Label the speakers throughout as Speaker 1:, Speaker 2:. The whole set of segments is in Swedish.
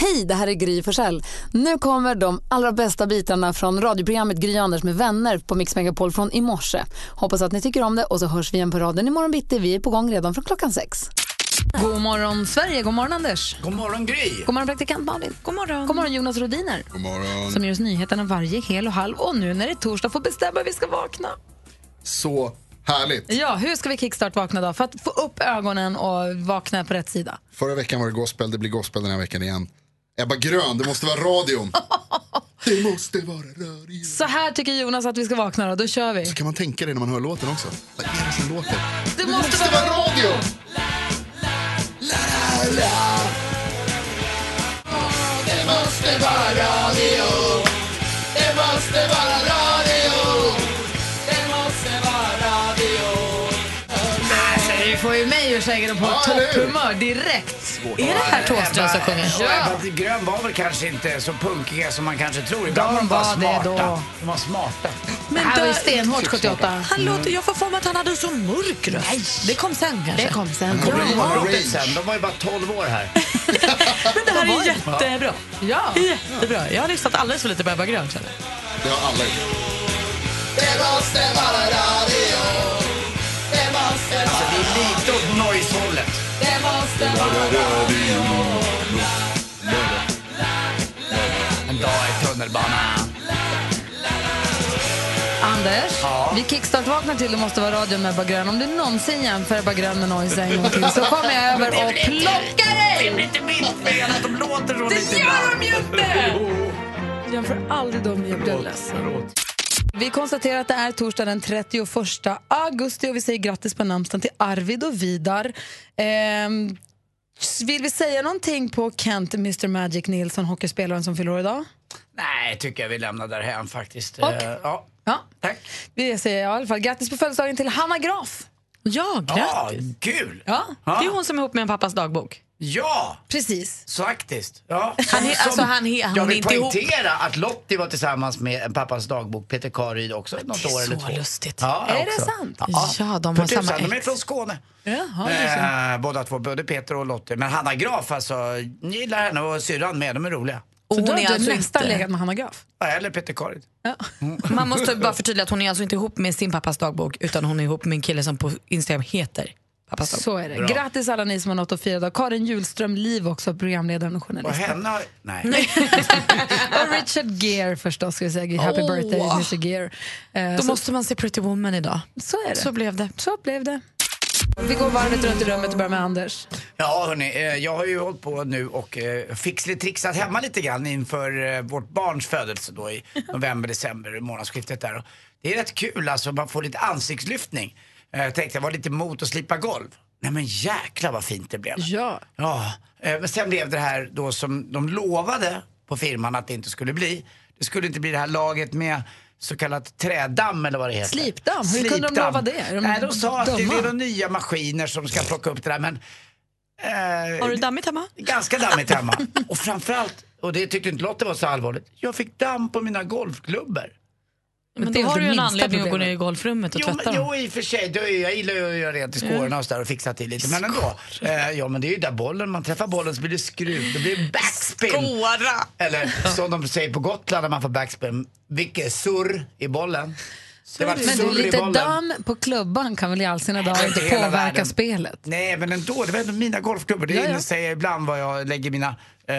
Speaker 1: Hej, det här är Gry Forssell. Nu kommer de allra bästa bitarna från radioprogrammet Gry Anders med vänner på Mix Megapol från i morse. Hoppas att ni tycker om det och så hörs vi igen på raden imorgon bitti. Vi är på gång redan från klockan sex. God morgon Sverige, god morgon Anders.
Speaker 2: God morgon Gry!
Speaker 1: God morgon praktikant Malin. God morgon. God morgon Jonas Rodiner. God morgon. Som ger oss nyheterna varje hel och halv och nu när det är torsdag får bestämma hur vi ska vakna.
Speaker 2: Så härligt.
Speaker 1: Ja, hur ska vi kickstart-vakna då för att få upp ögonen och vakna på rätt sida?
Speaker 2: Förra veckan var det gospel, det blir gospel den här veckan igen. Ebba Grön, det måste vara radion. Det måste vara radion.
Speaker 1: Så här tycker Jonas att vi ska vakna då, då kör vi.
Speaker 2: Så kan man tänka det när man hör låten också. Vad är det som låter?
Speaker 1: Det
Speaker 2: Det måste vara radion! La, la. Det måste vara radio. Det måste vara radio.
Speaker 1: Alltså, du får ju mig ur sängen och på
Speaker 2: Ja, eller hur?
Speaker 1: topphumör direkt. Är det här Thåström som sjunger?
Speaker 3: Och Ebba Grön var väl kanske inte så punkiga som man kanske tror. Ibland
Speaker 1: De
Speaker 3: var de bara
Speaker 1: var det
Speaker 3: smarta.
Speaker 1: då.
Speaker 3: De var smarta.
Speaker 1: Det här var ju stenhårt
Speaker 2: Typ
Speaker 1: 78.
Speaker 4: Han låter, jag får för mig att han hade så mörk röst. Det kom sen kanske.
Speaker 1: Det kom sen.
Speaker 3: Kommer du ihåg
Speaker 2: Ja.
Speaker 3: Robin sen? De var ju bara 12 år här.
Speaker 4: Men det här är jättebra.
Speaker 1: Ja.
Speaker 4: Det är jättebra. Jag har lyssnat alldeles för lite på Ebba Grön känner jag.
Speaker 2: Det har alla gjort. Det måste vara radio. Det måste vara
Speaker 3: Det är lite åt noise-hållet. En dag i tunnelbanan.
Speaker 1: Anders, vi kickstart-vaknar till Det måste vara radio med Ebba Grön. Om du någonsin jämför Ebba Grön med Noise en gång till så kommer jag över och plockar dig!
Speaker 3: Det är inte mitt fel att de låter så
Speaker 1: Det
Speaker 3: lite
Speaker 1: gör de ju inte! Jämför aldrig dem med Jubdeles. Vi konstaterar att det är torsdag den 31 augusti och vi säger grattis på namnsdagen till Arvid och Vidar. Ehm, vill vi säga någonting på Kent Mr Magic Nilsson, hockeyspelaren som fyller år idag?
Speaker 3: Nej, tycker jag vi lämnar därhän faktiskt.
Speaker 1: Och?
Speaker 3: Eh, Ja,
Speaker 1: Ja,
Speaker 3: tack.
Speaker 1: vi säger i alla fall grattis på födelsedagen till Hanna Graf.
Speaker 4: Ja,
Speaker 3: Ja,
Speaker 4: grattis.
Speaker 3: kul!
Speaker 1: Ja,
Speaker 4: Det är hon som är ihop med en pappas dagbok.
Speaker 3: Ja,
Speaker 1: precis.
Speaker 3: så faktiskt. Ja,
Speaker 4: Han är- alltså, han är- han
Speaker 3: jag
Speaker 4: är
Speaker 3: vill
Speaker 4: inte ihop.
Speaker 3: poängtera att Lottie var tillsammans med en pappas dagbok, Peter Karyd också, något
Speaker 4: är
Speaker 3: år eller
Speaker 4: så
Speaker 3: två.
Speaker 4: lustigt.
Speaker 3: Ja,
Speaker 1: Är
Speaker 3: också.
Speaker 1: det sant?
Speaker 4: Ja, de
Speaker 3: För
Speaker 4: har
Speaker 3: tusan,
Speaker 4: samma
Speaker 3: De är
Speaker 4: ex.
Speaker 3: från Skåne.
Speaker 1: Jaha, du ser.
Speaker 3: Eh, båda två, både Peter och Lottie. Men Hanna Graf alltså, ni gillar henne och syrran med, de är roliga.
Speaker 4: Och
Speaker 1: Så
Speaker 4: hon
Speaker 1: du
Speaker 4: är
Speaker 1: har
Speaker 4: alltså
Speaker 1: alltså nästan
Speaker 4: inte-
Speaker 1: legat med Hanna Graf?
Speaker 3: Eller Peter Karin.
Speaker 1: Ja.
Speaker 4: Man måste bara förtydliga att hon är alltså inte ihop med sin pappas dagbok utan hon är ihop med en kille som på Instagram heter pappas
Speaker 3: Alltså,
Speaker 4: dagbok.
Speaker 1: Så är det. Grattis alla ni som har något att fira idag. Karin Julström Liv också, programledaren och
Speaker 3: Och
Speaker 1: journalisten.
Speaker 3: henne har... Nej. Nej.
Speaker 1: Och Richard Gere förstås, ska vi säga. Happy
Speaker 4: Åh.
Speaker 1: birthday Richard Gere. Eh,
Speaker 4: Då
Speaker 1: så,
Speaker 4: måste man se Pretty Woman idag.
Speaker 1: så är det.
Speaker 4: Så
Speaker 1: Så,
Speaker 4: blev det.
Speaker 1: blev det. Vi går varvet runt i rummet och börjar med Anders.
Speaker 3: Ja hörni, eh, jag har ju hållit på nu och eh, fixlitrixat hemma lite grann inför eh, vårt barns födelse då i november, december, månadsskiftet där. Och det är rätt kul alltså, man får lite ansiktslyftning. Eh, Jag tänkte jag var lite emot att slipa golv. Nej men jäklar vad fint det blev.
Speaker 1: Ja.
Speaker 3: Ja, eh, men sen blev det här då som de lovade på firman att det inte skulle bli. Det skulle inte bli det här laget med så kallat trädamm eller vad det heter.
Speaker 1: Slipdamm? Hur kunde de
Speaker 3: Slipdamm.
Speaker 1: lova det? Är de
Speaker 3: Nej, de sa att det
Speaker 1: dumma?
Speaker 3: är de nya maskiner som ska plocka upp det där men... eh,
Speaker 4: Har du dammigt hemma?
Speaker 3: Ganska dammigt hemma. och framförallt, och det tyckte inte Lotte var så allvarligt, jag fick damm på mina golfklubbor.
Speaker 4: Men,
Speaker 1: det är
Speaker 4: då har
Speaker 1: inte
Speaker 4: du
Speaker 1: det
Speaker 4: ju en
Speaker 1: minsta
Speaker 4: anledning att gå
Speaker 1: problemet.
Speaker 4: ner i golfrummet och
Speaker 3: Jo,
Speaker 4: tvätta
Speaker 3: men,
Speaker 4: dem.
Speaker 3: jo i och för sig, då är jag gillar ju att göra rent i skårorna och, så där och fixa till lite. Men ändå. Eh, ja men det är ju där bollen, man träffar bollen så blir det skruv, det blir backspin.
Speaker 4: Skåra!
Speaker 3: Eller som de säger på Gotland när man får backspin, vilket surr i bollen. Det var
Speaker 1: Men du,
Speaker 3: surr i
Speaker 1: lite
Speaker 3: bollen.
Speaker 1: damm på klubban kan väl i all sina dagar inte
Speaker 3: Hela
Speaker 1: påverka
Speaker 3: världen.
Speaker 1: spelet?
Speaker 3: Nej men ändå, det var ändå mina golfklubbor. Det
Speaker 1: Ja, ja.
Speaker 3: ja, säger ibland vad jag lägger mina eh,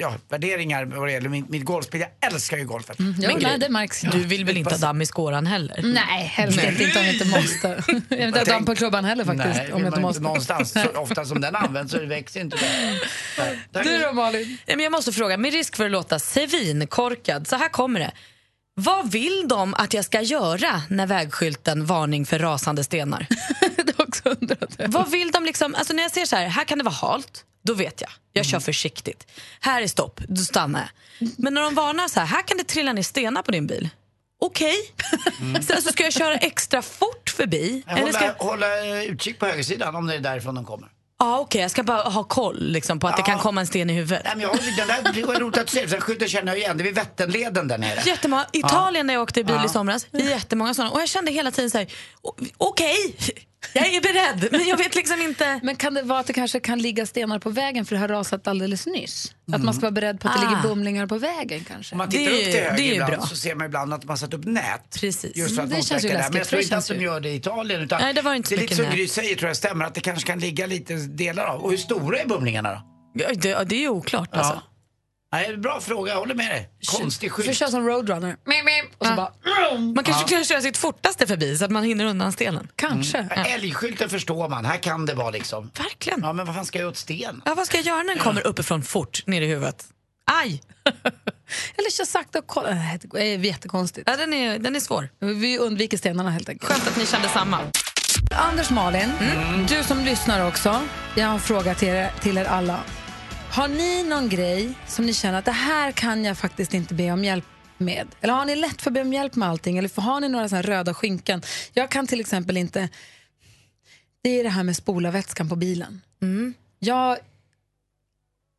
Speaker 3: ja, värderingar vad det gäller mitt, mitt golfspel. Jag älskar ju golfen.
Speaker 1: Jo,
Speaker 4: Men
Speaker 1: nej,
Speaker 4: Gry,
Speaker 1: det märks.
Speaker 4: Du vill väl inte ha damm i skåran heller?
Speaker 1: Nej, helst inte, inte om jag inte måste. Jag vill inte ha
Speaker 3: Tänk-
Speaker 1: damm på klubban heller faktiskt.
Speaker 3: Nej,
Speaker 1: om
Speaker 3: vill
Speaker 1: jag inte
Speaker 3: man
Speaker 1: måste.
Speaker 3: någonstans. Så ofta som den används så växer inte det. Nej, tack.
Speaker 1: Du då Malin?
Speaker 4: Nej, men Jag måste fråga, med risk för att låta svinkorkad, så här kommer det. Vad vill de att jag ska göra när vägskylten varning för rasande stenar?
Speaker 1: det har också undrat.
Speaker 4: Vad vill de liksom, alltså när jag ser så här, här kan det vara halt, då vet jag. Jag
Speaker 3: Mm.
Speaker 4: kör försiktigt. Här är stopp, då stannar jag. Men när de varnar så här, här kan det trilla ner stenar på din bil. okej.
Speaker 3: Mm.
Speaker 4: Sen så alltså, ska jag köra extra fort förbi. Eller ska
Speaker 3: Hålla, hålla eh, utkik på högersidan om det är därifrån de kommer.
Speaker 4: Ja, okej. Jag ska bara ha koll liksom, på att det
Speaker 3: Ja.
Speaker 4: kan komma en sten i huvudet.
Speaker 3: Nej, men jag, den där det var roligt att se, den skylten känner jag igen. Det är vid Vätternleden där nere.
Speaker 4: Jättemånga, Italien när jag åkte i bil i somras, jättemånga sådana. Och jag kände hela tiden så här, "O- okej, jag är beredd. Men jag vet liksom inte.
Speaker 1: Men kan det vara att det kanske kan ligga stenar på vägen för det har rasat alldeles nyss? Att man ska vara beredd på att det
Speaker 4: Ah.
Speaker 1: ligger bumlingar på vägen kanske?
Speaker 3: Om man tittar
Speaker 4: Det är-
Speaker 3: upp till
Speaker 4: det är
Speaker 3: höger
Speaker 4: ju
Speaker 3: ibland
Speaker 4: bra.
Speaker 3: så ser man ibland att de har satt upp nät.
Speaker 4: Precis.
Speaker 3: Just för att
Speaker 1: Mm, det känns ju
Speaker 3: motverka det
Speaker 1: läskigt,
Speaker 3: här. Men jag
Speaker 1: för
Speaker 3: tror
Speaker 1: det
Speaker 3: inte att
Speaker 1: känns ju-
Speaker 3: de gör det i Italien. Utan
Speaker 4: Nej, det var inte så
Speaker 3: det är lite
Speaker 4: mycket
Speaker 3: som
Speaker 4: nät.
Speaker 3: Gry säger, tror jag stämmer, att det kanske kan ligga lite delar av. Och hur stora är bumlingarna då?
Speaker 4: Ja, Det, ja, det är ju oklart alltså.
Speaker 3: Nej, bra fråga, jag håller med dig. Konstig
Speaker 1: För
Speaker 3: skylt.
Speaker 1: köra som roadrunner. Mim, mim. Och så bara,
Speaker 4: Man kanske kan köra sitt fortaste förbi så att man hinner undan stenen. Mm.
Speaker 1: kanske.
Speaker 3: Älgskylten förstår man, här kan det vara liksom.
Speaker 4: Verkligen.
Speaker 3: Ja, men vad fan ska jag åt sten?
Speaker 4: Ja, vad ska jag göra när den kommer uppifrån fort ner i huvudet? Aj!
Speaker 1: Eller kör sakta och kolla. Nej, Det är jättekonstigt.
Speaker 4: Ja, den, är, den är svår.
Speaker 1: Vi undviker stenarna helt enkelt.
Speaker 4: Skönt att ni kände samma.
Speaker 1: Anders Malin, du som lyssnar också. Jag har en fråga till er, till er alla. Har ni någon grej som ni känner att det här kan jag faktiskt inte be om hjälp med? Eller har ni lätt för att be om hjälp med allting? Eller har ni några såna här röda skynken? Jag kan till exempel inte... Det är det här med spolarvätskan på bilen. Jag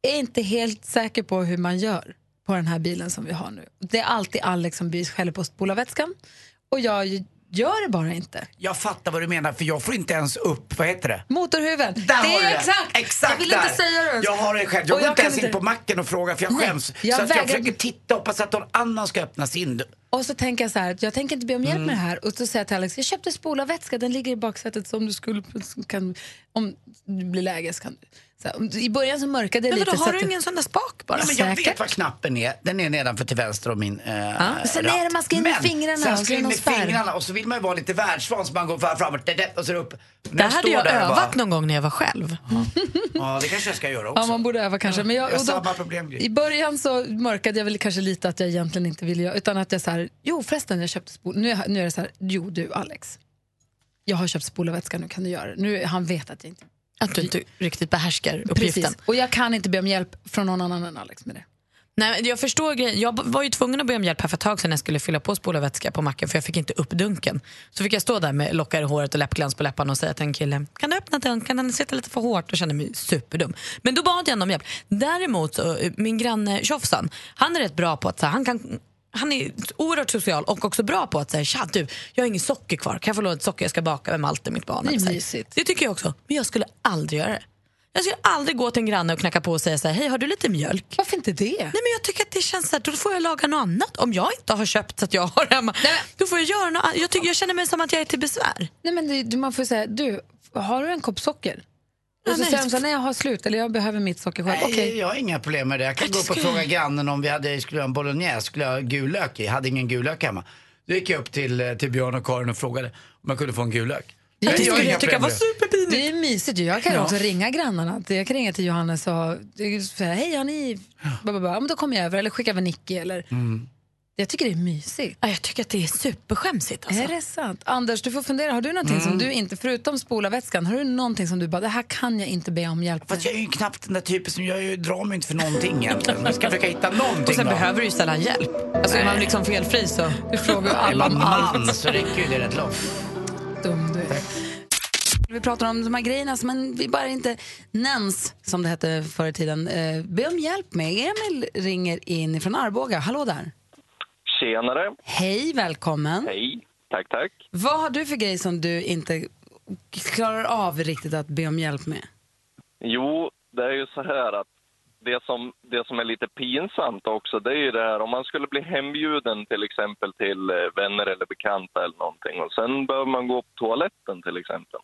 Speaker 1: är inte helt säker på hur man gör på den här bilen som vi har nu. Det är alltid Alex som skäller på spolarvätskan och jag gör det bara inte.
Speaker 3: Jag fattar vad du menar, för jag får inte ens upp, vad heter det?
Speaker 1: Motorhuven.
Speaker 3: Där
Speaker 1: det
Speaker 3: har du
Speaker 1: är exakt.
Speaker 3: exakt!
Speaker 1: Jag vill
Speaker 3: där.
Speaker 1: inte säga det. ens.
Speaker 3: Jag har det själv.
Speaker 1: Och
Speaker 3: Jag går inte
Speaker 1: kan
Speaker 3: ens in på macken och frågar för jag
Speaker 1: Nej,
Speaker 3: skäms.
Speaker 1: jag
Speaker 3: så att
Speaker 1: vägrar-
Speaker 3: jag försöker titta och hoppas att någon annan ska öppna sin.
Speaker 1: Och så tänker jag så här, att jag tänker inte be om hjälp med det här.
Speaker 3: Mm.
Speaker 1: Och så säger jag till Alex, jag köpte spolarvätska, den ligger i baksätet så om du skulle, kan, om det blir läge så kan du. Så här, om du- I början så mörkade jag
Speaker 4: Men
Speaker 1: lite.
Speaker 4: vadå,
Speaker 1: så
Speaker 4: har
Speaker 1: att
Speaker 4: du
Speaker 1: det-
Speaker 4: ingen sån där spak bara?
Speaker 3: Ja, men jag
Speaker 1: Säkert.
Speaker 3: vet vad knappen är. Den är nedanför till vänster om min eh,
Speaker 1: Sen är det man ska in med
Speaker 3: Men
Speaker 1: fingrarna och
Speaker 3: Sen
Speaker 1: så
Speaker 3: ska
Speaker 1: är det
Speaker 3: jag in
Speaker 1: någon
Speaker 3: med
Speaker 1: spärr.
Speaker 3: fingrarna och så vill man ju vara lite världsvan så man går fram- framåt det- det- och så är det upp. När
Speaker 4: Det hade
Speaker 3: står
Speaker 4: jag
Speaker 3: där och bara-
Speaker 4: övat någon gång när jag var själv.
Speaker 3: Ja, det kanske jag ska göra också.
Speaker 1: Ja, man borde öva kanske. Men jag,
Speaker 3: Jag har
Speaker 1: och då,
Speaker 3: samma problem, Gry.
Speaker 1: I början så mörkade jag väl kanske lite att jag egentligen inte ville göra, utan att jag så här, jo förresten jag köpte spol, nu, är- nu är det så här, jo du Alex, jag har köpt spolarvätska, nu kan du göra det. Nu, han vet att jag inte
Speaker 4: Att du inte riktigt behärskar uppgiften.
Speaker 1: Precis. Och jag kan inte be om hjälp från någon annan än Alex med det.
Speaker 4: Nej, men jag förstår grejen. Jag b- var ju tvungen att be om hjälp här för ett tag sedan när jag skulle fylla på spolarvätska på macken för jag fick inte upp dunken. Så fick jag stå där med lockar i håret och läppglans på läpparna och säga till en kille, kan du öppna den? Kan den sitta lite för hårt? Och kände mig superdum. Men då bad jag honom om hjälp. Däremot, så, eh, min granne Tjofsan, han är rätt bra på att så, här, han kan han är oerhört social och också bra på att säga tja du, jag har inget socker kvar, kan jag få låna ett socker? Jag ska baka med Malte, mitt barn.
Speaker 1: Det är
Speaker 4: Eller så här.
Speaker 1: mysigt.
Speaker 4: Det tycker jag också, men jag skulle aldrig göra det. Jag skulle aldrig gå till en granne och knacka på och säga så här, hej har du lite mjölk?
Speaker 1: Varför inte det?
Speaker 4: Nej men jag tycker att det känns så här, då får jag laga något annat om jag inte har köpt så att jag har hemma. Då får jag göra något annat. Jag, tycker, jag känner mig som att jag är till besvär.
Speaker 1: Nej, men det, du- man får säga, du, har du en kopp socker? Och så
Speaker 4: nej.
Speaker 1: säger de så här, nej jag har slut eller jag behöver mitt socker själv.
Speaker 3: Nej,
Speaker 1: Okej,
Speaker 3: Jag har inga problem med det. Jag kan
Speaker 4: Jag
Speaker 3: gå upp och
Speaker 4: skulle-
Speaker 3: fråga grannen om vi hade, skulle ha en bolognese, skulle jag ha gul lök i? Jag hade ingen gul lök hemma. Då gick jag upp till, eh, till Björn och Karin och frågade om jag kunde få en gul lök.
Speaker 1: Det
Speaker 3: Nej,
Speaker 1: skulle
Speaker 3: har
Speaker 1: jag
Speaker 3: inga problem med det.
Speaker 4: superpinigt.
Speaker 1: det är mysigt ju. Jag kan också ringa grannarna. Jag kan ringa till Johannes och säga, hej har ni... Ja. Men då kommer jag över eller skickar över Nicky eller...
Speaker 4: Mm.
Speaker 1: Jag tycker det är mysigt.
Speaker 4: Ja, jag tycker att det är superskämsigt alltså. Mm.
Speaker 1: Är det sant? Anders, du får fundera. Har du någonting som du inte, förutom spolarvätskan, har du någonting som du bara, det här kan jag inte be om hjälp med?
Speaker 3: Fast jag är ju knappt den där typen som, jag är ju- drar mig inte för någonting egentligen. Jag ska försöka hitta någonting
Speaker 4: Och sen
Speaker 3: då.
Speaker 4: behöver du ju sällan hjälp. Alltså är man liksom felfri så...
Speaker 1: Du frågar
Speaker 3: Är
Speaker 1: alla
Speaker 3: man
Speaker 1: om allt.
Speaker 3: man så räcker ju det rätt långt.
Speaker 1: dum du är. Vi pratar om de här grejerna som man, vi bara inte nämns, som det hette förr i tiden. Eh, be om hjälp med. Emil ringer in från Arboga. Hallå där.
Speaker 5: Tjenare!
Speaker 1: Hej, välkommen.
Speaker 5: Hej! Tack, tack.
Speaker 1: Vad har du för grej som du inte klarar av riktigt att be om hjälp med?
Speaker 5: Jo, det är ju så här att det som, det som är lite pinsamt också, det är ju det här om man skulle bli hembjuden till exempel till eh, vänner eller bekanta eller någonting och sen behöver man gå på toaletten till exempel.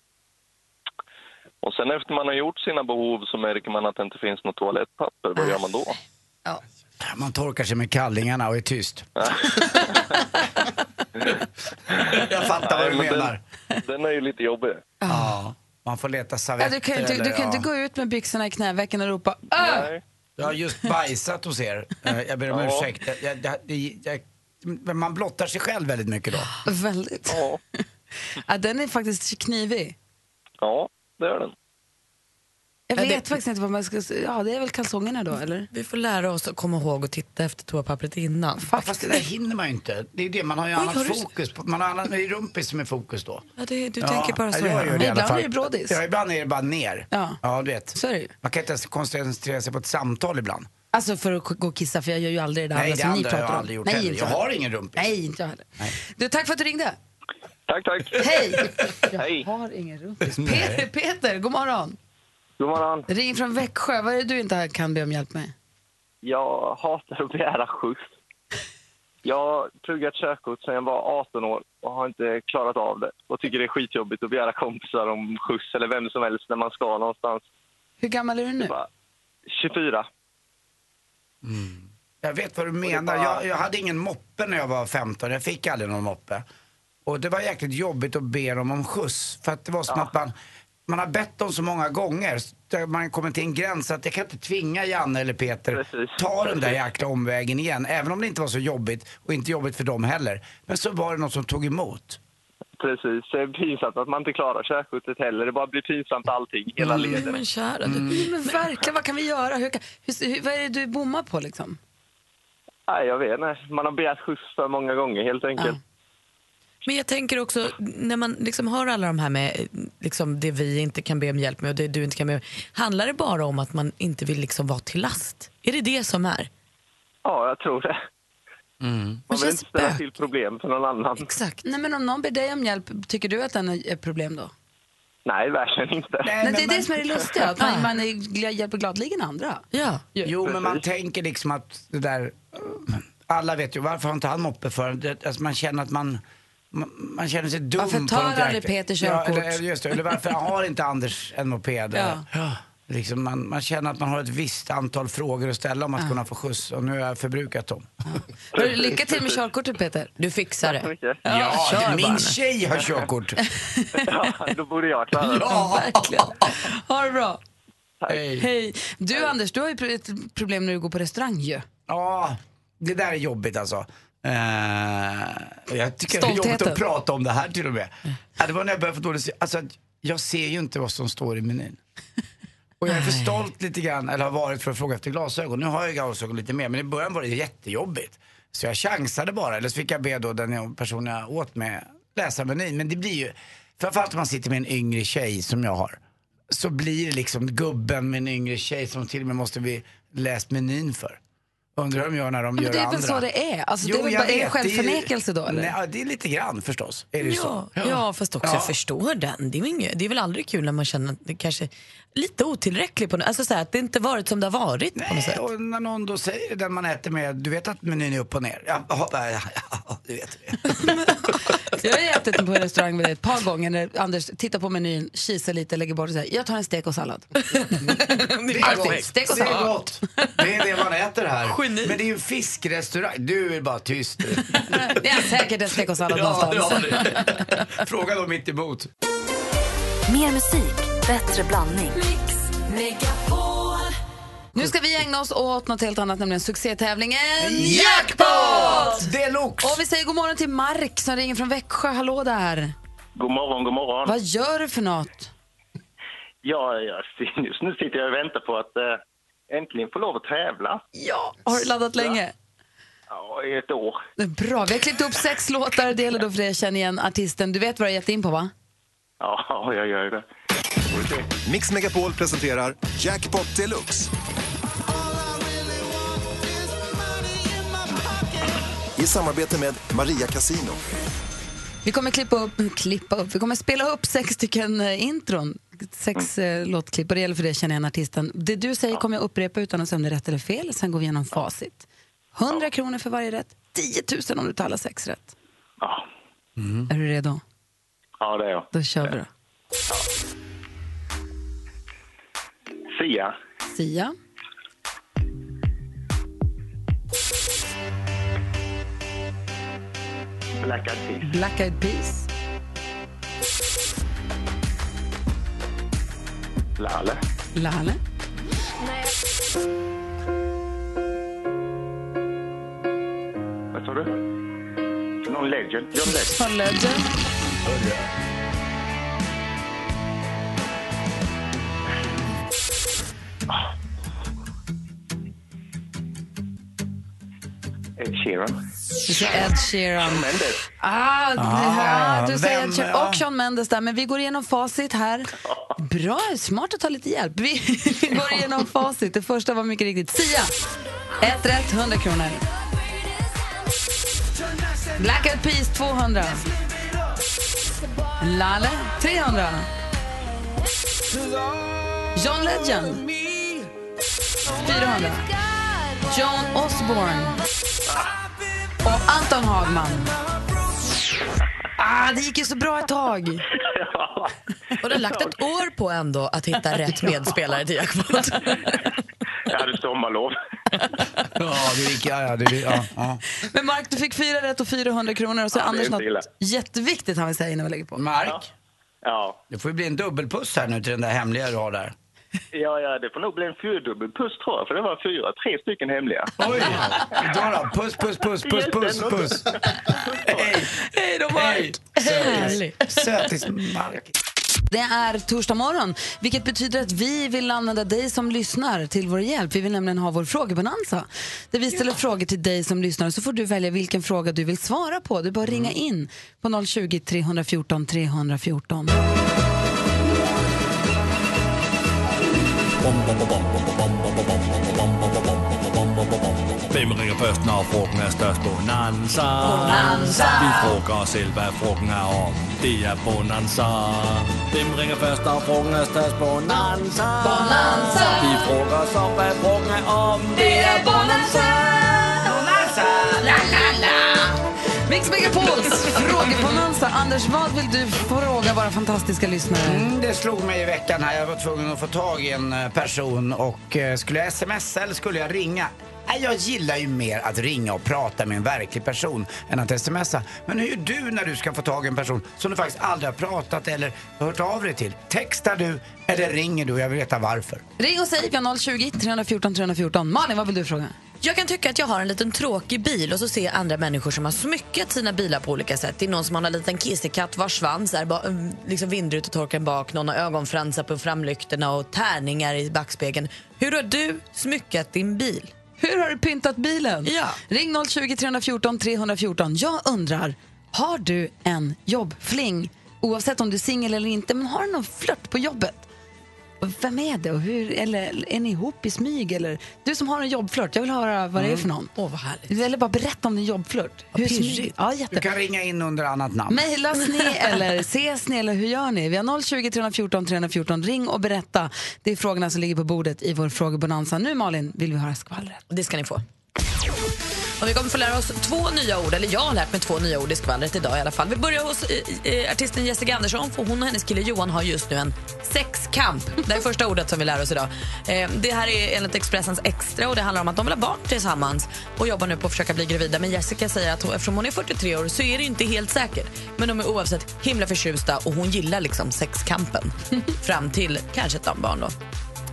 Speaker 5: Och sen efter man har gjort sina behov så märker man att det inte finns något toalettpapper. Vad gör man
Speaker 3: Äh,
Speaker 5: då?
Speaker 3: Man torkar sig med kallingarna och är tyst. jag fattar vad du
Speaker 5: Nej, men
Speaker 3: menar.
Speaker 5: Den, den är ju lite jobbig.
Speaker 3: Äh. Ja, man får leta
Speaker 1: Ja,
Speaker 3: servetter
Speaker 1: du kan ju inte,
Speaker 3: eller,
Speaker 1: du kan
Speaker 3: ja.
Speaker 1: inte gå ut med byxorna i knävecken och ropa Öh!
Speaker 5: Nej.
Speaker 3: Jag har just bajsat hos er. Eh, Jag ber om
Speaker 5: Ja.
Speaker 3: ursäkt. Jag, jag, det- det- jag, men man blottar sig själv väldigt mycket då.
Speaker 1: Väldigt.
Speaker 5: Ja,
Speaker 1: Ja, den är faktiskt knivig.
Speaker 5: ja, det är den.
Speaker 1: Jag
Speaker 4: Ja, det-
Speaker 1: vet faktiskt inte vad man ska säga. Ja, det är väl kalsongerna då, eller?
Speaker 4: Vi får lära oss att komma ihåg att titta efter toapappret innan.
Speaker 3: Fast det där hinner man ju inte. Det är ju det, man har ju
Speaker 4: Oj,
Speaker 3: annat
Speaker 4: har du-
Speaker 3: fokus. På, man har annat, det är rumpis som är fokus då.
Speaker 4: Ja, det, du tänker bara så.
Speaker 3: jag
Speaker 4: ja.
Speaker 3: gör det i
Speaker 1: Men
Speaker 3: alla
Speaker 1: ibland
Speaker 3: fall.
Speaker 1: är det brådis.
Speaker 3: Ja, ibland är det bara ner.
Speaker 1: Ja.
Speaker 3: du vet.
Speaker 1: Så är det ju.
Speaker 3: Man kan inte ens koncentrera sig på ett samtal ibland.
Speaker 1: Alltså för att k- gå och kissa, för jag gör ju aldrig det där
Speaker 3: Nej,
Speaker 1: andra
Speaker 3: det
Speaker 1: som alltså, ni
Speaker 3: andra
Speaker 1: pratar
Speaker 3: har jag
Speaker 1: om.
Speaker 3: aldrig gjort
Speaker 1: Nej,
Speaker 3: heller.
Speaker 1: inte
Speaker 3: Jag
Speaker 1: heller.
Speaker 3: har ingen rumpis.
Speaker 1: Nej, inte jag heller. Du, tack för att du ringde.
Speaker 5: Tack, tack.
Speaker 1: Hej!
Speaker 5: Hej.
Speaker 1: Jag har ingen rumpis. Peter, Peter, god morgon.
Speaker 5: God morgon.
Speaker 1: Ring från Växjö. Vad är det du inte kan be om hjälp med?
Speaker 5: Jag hatar att begära skjuts. Jag har pluggat körkort sedan jag var 18 år och har inte klarat av det. Och tycker det är skitjobbigt att begära kompisar om skjuts eller vem som helst när man ska någonstans.
Speaker 1: Hur gammal är du nu?
Speaker 5: Bara 24.
Speaker 3: Jag vet vad du menar. Jag, jag hade ingen moppe när jag var 15. Jag fick aldrig någon moppe. Och det var jäkligt jobbigt att be dem om skjuts. För att det var som att man, man har bett dem så många gånger. så där Man kommer till en gräns att jag kan inte tvinga Janne eller Peter
Speaker 5: Precis.
Speaker 3: ta den där jäkla omvägen igen. Även om det inte var så jobbigt och inte jobbigt för dem heller. Men så var det något som tog emot.
Speaker 5: Precis. Det är pinsamt att man inte klarar körkortet heller. Det bara blir pinsamt allting, hela ledet.
Speaker 4: Men kära du.
Speaker 1: Men verkligen, vad kan vi göra? Hur kan, hur, hur, vad är det du bommar på liksom?
Speaker 5: Nej, jag vet inte. Man har begärt skjuts för många gånger helt enkelt.
Speaker 4: Men jag tänker också, när man liksom hör alla de här med eh, liksom det vi inte kan be om hjälp med och det du inte kan be om Handlar det bara om att man inte vill liksom vara till last? Är det det som är?
Speaker 5: Ja, jag tror det. Man vill
Speaker 4: känns
Speaker 5: inte ställa
Speaker 4: bök.
Speaker 5: till problem för någon annan.
Speaker 4: Exakt.
Speaker 1: Nej, men om någon ber dig om hjälp, tycker du att den är ett problem då?
Speaker 5: Nej, verkligen inte.
Speaker 1: Nej, det är det som är det lustiga, att
Speaker 4: Ja.
Speaker 1: man, man är, gl- hjälper gladeligen andra.
Speaker 4: Ja.
Speaker 3: Jo, men man tänker liksom att det där... Alla vet ju, varför har inte han moppe för? Det, alltså man känner att man... Man, man känner sig dum.
Speaker 1: Varför
Speaker 3: på
Speaker 1: tar
Speaker 3: något
Speaker 1: aldrig
Speaker 3: jäkla-
Speaker 1: Peter
Speaker 3: ja,
Speaker 1: körkort?
Speaker 3: eller, just det, eller varför har inte Anders en moped?
Speaker 1: Ja.
Speaker 3: Ja. Liksom man, man känner att man har ett visst antal frågor att ställa om att kunna få skjuts och nu har jag förbrukat dem.
Speaker 1: Hörru, Lycka till med körkortet Peter.
Speaker 4: Du fixar det.
Speaker 5: mycket.
Speaker 3: Ja,
Speaker 4: kör bara
Speaker 3: min
Speaker 4: nu.
Speaker 3: tjej har körkort.
Speaker 5: Ja, då borde jag klara det.
Speaker 1: Verkligen. Ha det bra.
Speaker 3: Hej.
Speaker 1: Hej. Du Anders, du har ju pr- ett problem när du går på restaurang ju.
Speaker 3: Ja, det där är jobbigt alltså. Eh, och jag tycker det är jobbigt
Speaker 1: Stoltheten.
Speaker 3: att prata om det här till och med. Ja, det var när jag började få dåligt se- Alltså, jag ser ju inte vad som står i menyn. Och jag är för stolt lite grann, eller har varit för att fråga efter glasögon. Nu har jag glasögon lite mer, men i början var det jättejobbigt. Så jag chansade bara, eller så fick jag be då den jag- personen jag åt med läsa menyn. Men det blir ju, framförallt om man sitter med en yngre tjej som jag har, så blir det liksom gubben med en yngre tjej som till och med måste bli läst menyn för. Undrar om jag när de
Speaker 1: Ja,
Speaker 3: gör
Speaker 1: men det är väl
Speaker 3: andra.
Speaker 1: så det är? Alltså, det är väl
Speaker 3: jag
Speaker 1: bara- är det
Speaker 3: vet, ju-
Speaker 1: självförnekelse då, eller?
Speaker 3: Nej, ja, det är lite grann förstås. Är det
Speaker 4: Ja,
Speaker 3: så?
Speaker 4: ja, fast också jag förstår den. Det är, ju inget, det är väl aldrig kul när man känner att det kanske är lite otillräcklig på något Alltså så här, att det inte varit som det har varit på något
Speaker 3: Nej,
Speaker 4: sätt.
Speaker 3: och när någon då säger den man äter med, du vet att menyn är upp och ner? Ja, ja, ja, ja du vet det.
Speaker 1: Jag har ju ätit på en restaurang med dig ett par gånger när Anders tittar på menyn, kisar lite, lägger bort och säger jag tar en stek och sallad.
Speaker 3: Det
Speaker 1: är
Speaker 3: är
Speaker 1: gott.
Speaker 3: gott.
Speaker 1: Stek och
Speaker 3: det är
Speaker 1: sallad.
Speaker 3: gott. Det är det man äter här.
Speaker 4: Geni.
Speaker 3: Men det är ju en fiskrestaurang. Du är bara tyst. du.
Speaker 1: Det är säkert en stek och sallad
Speaker 3: ja,
Speaker 1: någonstans.
Speaker 3: det har du. Fråga dem inte emot.
Speaker 6: Mer musik, bättre blandning.
Speaker 1: Nu ska vi ägna oss åt något helt annat, nämligen succétävlingen
Speaker 3: Jackpot! Deluxe!
Speaker 1: Och vi säger god morgon till Mark som ringer från Växjö. Hallå där!
Speaker 5: God morgon, god morgon.
Speaker 1: Vad gör du för något?
Speaker 5: Ja, ja, just nu sitter jag och väntar på att eh, äntligen få lov att tävla.
Speaker 1: Ja, har du laddat länge?
Speaker 5: Ja, i ett år.
Speaker 1: Bra, vi har klippt upp sex låtar. Det gäller då för dig att känna igen artisten. Du vet vad du har gett in på, va?
Speaker 5: Ja, jag gör det.
Speaker 7: Mix Megapol presenterar
Speaker 8: Jackpot deluxe.
Speaker 7: i samarbete med Maria Casino.
Speaker 1: Vi kommer klippa upp, klippa upp. Vi kommer spela upp sex stycken eh, intron. Sex eh, låtklipp och det gäller för dig att känna igen artisten. Det du säger kommer jag upprepa utan att säga om det är rätt eller fel. Sen går vi igenom facit. 100 kronor för varje rätt. 10 000 om du tar alla sex rätt.
Speaker 5: Ja,
Speaker 1: Är du redo?
Speaker 5: ja det är jag.
Speaker 1: Då kör vi då.
Speaker 5: Sia,
Speaker 1: Sia,
Speaker 5: Black Eyed Peas,
Speaker 1: Black Eyed Peas,
Speaker 5: Lalle,
Speaker 1: Lalle,
Speaker 5: vad sa du? Någon legend? John Legend?
Speaker 1: John Legend,
Speaker 5: Ah.
Speaker 9: Ed Sheeran.
Speaker 1: Ed Sheeran.
Speaker 9: Mendes.
Speaker 1: Ah,
Speaker 9: Ah,
Speaker 1: ah, du säger
Speaker 9: vem-
Speaker 1: Ed Sheeran och Sean Mendes där, men vi går igenom facit här. Bra, smart att ta lite hjälp. Vi går igenom facit. Det första var mycket riktigt Sia. Ett rätt, 100 kronor. Black Eyed Peas 200. Lalle 300. John Legend 400. John Osborne och Anton Hagman. Ah, det gick ju så bra ett tag.
Speaker 4: Och du har lagt ett år på ändå att hitta rätt medspelare till jackpot.
Speaker 9: Jag hade sommarlov.
Speaker 3: Ja, du gick... Ja, ja, du, ja, ja.
Speaker 1: Men Mark, du fick fyra rätt och 400 kronor. Och så
Speaker 3: Ja, det är
Speaker 1: Anders
Speaker 3: inte illa.
Speaker 1: något jätteviktigt han vill säga innan vi lägger på.
Speaker 3: Mark? Ja. Det får ju bli en dubbelpuss här nu till den där hemliga du har där.
Speaker 9: Ja, ja, det får nog bli en fyrdubbel puss tror jag, för det var fyra, tre stycken hemliga.
Speaker 3: Oj! Då då, puss, puss, puss, puss, puss, puss.
Speaker 1: Hej då, Mark!
Speaker 3: Hej! Sötis Mark.
Speaker 1: Det är torsdag morgon, vilket betyder att vi vill använda dig som lyssnar till vår hjälp. Vi vill nämligen ha vår frågebonanza. Där vi ställer frågor till dig som lyssnar och så får du välja vilken fråga du vill svara på. Det är bara att ringa in på 020-314 314.
Speaker 10: Hvem ringer først, når frugten er størst? Bonanza.
Speaker 11: Bonanza.
Speaker 10: Vi frugger os selv, hvad frugten er om. Det er Bonanza. Hvem ringer først, når frugten er størst? Bonanza.
Speaker 11: Bonanza.
Speaker 10: Vi frugger os om, hvad frugten er om.
Speaker 11: Det er Bonanza.
Speaker 1: Bonanza. La, la, la. Mix Megapols frågebonanza. Anders, vad vill du fråga våra fantastiska lyssnare?
Speaker 3: Mm, det slog mig i veckan här. Jag var tvungen att få tag i en eh, person och eh, skulle jag smsa eller skulle jag ringa? Nej, jag gillar ju mer att ringa och prata med en verklig person än att smsa. Men hur gör du när du ska få tag i en person som du faktiskt aldrig har pratat eller hört av dig till? Textar du eller ringer du? Jag vill veta varför.
Speaker 1: Ring och säg via 020-314 314. Malin, vad vill du fråga?
Speaker 4: Jag kan tycka att jag har en liten tråkig bil och så ser jag andra människor som har smyckat sina bilar på olika sätt. Det är någon som har en liten kissekatt vars svans är ba- mm, liksom vindrutetorkaren bak, någon har ögonfransar på framlyktorna och tärningar i backspegeln. Hur har du smyckat din bil?
Speaker 1: Hur har du pyntat bilen? Ja. Ring 020-314 314. Jag undrar, har du en jobbfling? Oavsett om du är singel eller inte, men har du någon flört på jobbet? Och Vem är det och hur, eller är ni ihop i smyg? Eller, du som har en jobbflört, jag vill höra vad det är för någon.
Speaker 4: Åh, vad härligt.
Speaker 1: Eller bara berätta om din jobbflört. Hur smyg- ja, jätte...
Speaker 3: Du kan ringa in under annat namn.
Speaker 1: Mejlas ni eller ses ni eller hur gör ni? Vi har 020 314 314. Ring och berätta. Det är frågorna som ligger på bordet i vår frågebonanza. Nu Malin vill vi höra skvallret.
Speaker 4: Det ska ni få. Och vi kommer få lära oss två nya ord, eller jag har lärt mig två nya ord i skvallret idag i alla fall. Vi börjar hos eh, eh, artisten Jessica Andersson, för hon och hennes kille Johan har just nu en sexkamp. Det är första ordet som vi lär oss idag. Eh, det här är enligt Expressens Extra och det handlar om att de vill ha barn tillsammans och jobbar nu på att försöka bli gravida. Men Jessica säger att hon, eftersom hon är 43 år så är det inte helt säkert. Men de är oavsett himla förtjusta och hon gillar liksom sexkampen. Fram till kanske ett barn då.